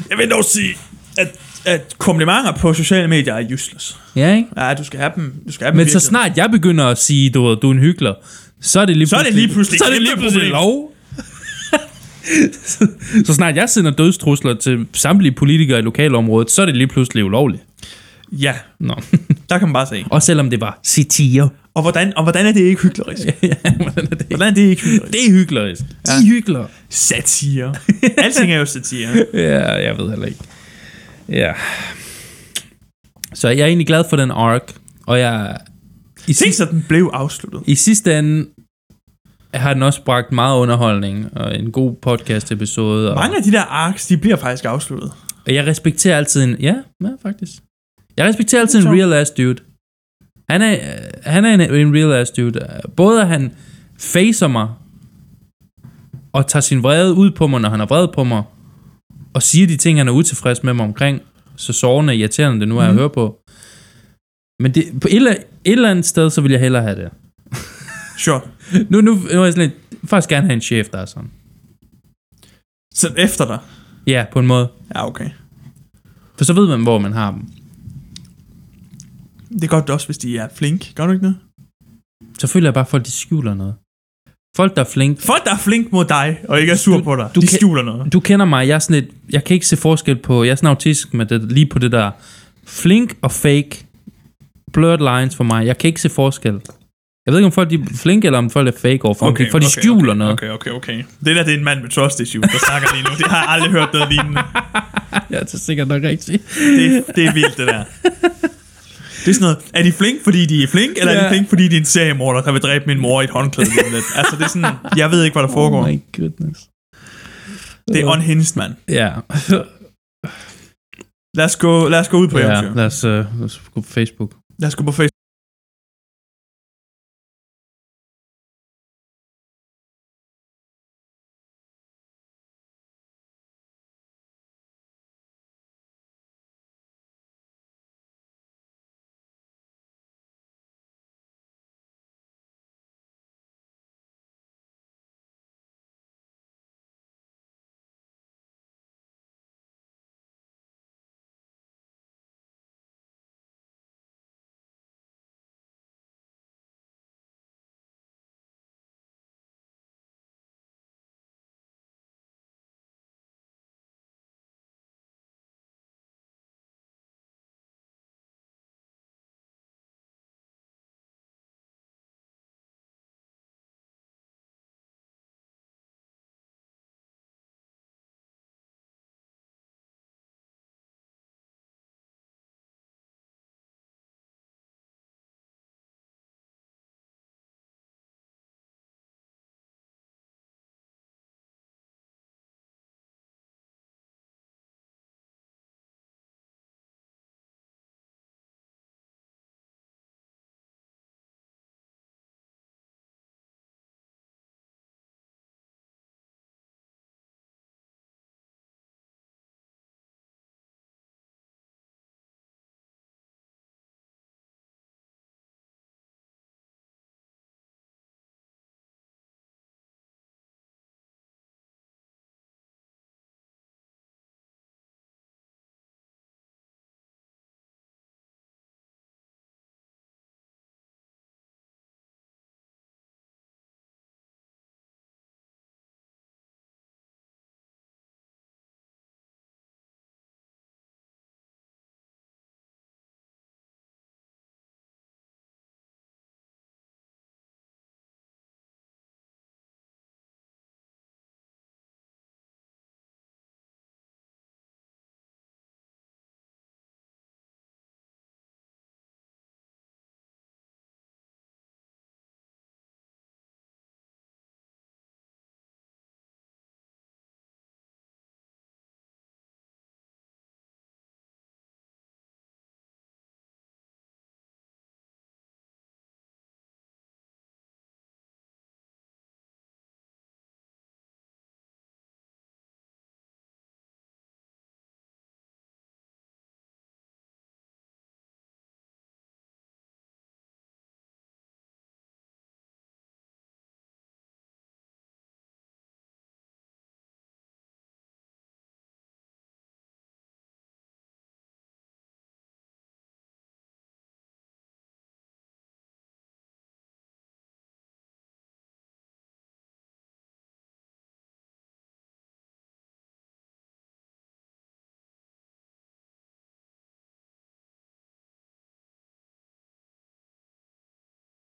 S2: Jeg vil dog sige, at, at komplimenter på sociale medier er useless.
S1: Ja, ikke?
S2: Ja, du skal have dem. Du skal have dem
S1: Men så
S2: virkelig.
S1: snart jeg begynder at sige, du, ved, du er en hyggelig, så er det lige
S2: Så er det lige pludselig
S1: så er det
S2: et
S1: lige
S2: kæmpe
S1: pludselig
S2: problem.
S1: lov. så, så snart jeg sender dødstrusler til samtlige politikere i lokalområdet, så er det lige pludselig ulovligt.
S2: Ja,
S1: Nå.
S2: der kan man bare se.
S1: Og selvom det var satire.
S2: Og hvordan, og hvordan er det ikke hyklerisk?
S1: ja, hvordan er det?
S2: Hvordan er det ikke hyklerisk?
S1: Det er hyklerisk. De er hyklere.
S2: Satire. Alting er jo satire.
S1: Ja, jeg ved heller ikke. Ja. Så jeg er egentlig glad for den arc, og jeg... I,
S2: Tænk
S1: sidste,
S2: så, den blev afsluttet.
S1: I sidste ende har den også bragt meget underholdning, og en god podcast-episode. Og,
S2: Mange af de der arcs, de bliver faktisk afsluttet.
S1: og jeg respekterer altid en... Ja, ja faktisk. Jeg respekterer altid en
S2: Så-
S1: real-ass dude. Han er, øh, han er en, en real-ass dude. Både at han facer mig, og tager sin vrede ud på mig, når han er vred på mig, og siger de ting, han er utilfreds med mig omkring, så sårende og irriterende det nu er mm. at høre på. Men det, på et eller, et eller andet sted, så vil jeg hellere have det.
S2: Sure.
S1: Nu, nu, nu er jeg sådan lidt, jeg vil faktisk gerne have en chef, der er sådan.
S2: Så efter dig.
S1: Ja, på en måde.
S2: Ja, okay.
S1: For så ved man, hvor man har dem.
S2: Det er godt også, hvis de er flink. Gør du ikke det?
S1: Så føler jeg bare, at folk de skjuler noget. Folk, der er flinke.
S2: Folk, der er flink mod dig, og ikke er sur
S1: Du-
S2: på dig,
S1: du
S2: de
S1: kan-
S2: skjuler noget.
S1: Du kender mig, jeg er sådan lidt, jeg kan ikke se forskel på, jeg er sådan autistisk med det, lige på det der flink og fake blurred lines for mig. Jeg kan ikke se forskel. Jeg ved ikke, om folk de er flinke, eller om folk er fake overfor, okay, for de skjuler
S2: okay,
S1: noget.
S2: Okay, okay, okay. Det der, det er en mand med trust issue, der snakker lige nu. Det har jeg aldrig hørt noget lignende.
S1: Ja, det er sikkert nok rigtigt.
S2: Det, det er vildt, det der. Det er sådan noget, er de flink, fordi de er flink, eller ja. er de
S1: Ja.
S2: flink, fordi de er en seriemorder, der vil dræbe min mor i et håndklæde lige om lidt? Altså, det er sådan, jeg ved ikke, hvad der foregår.
S1: Oh
S2: Oh
S1: my goodness.
S2: det er unhinged, mand.
S1: Ja,
S2: Lad os gå, lad os gå ud på
S1: ja
S2: eventyr.
S1: lad, os, uh, lad os gå på Facebook.
S2: Lad os gå på Facebook.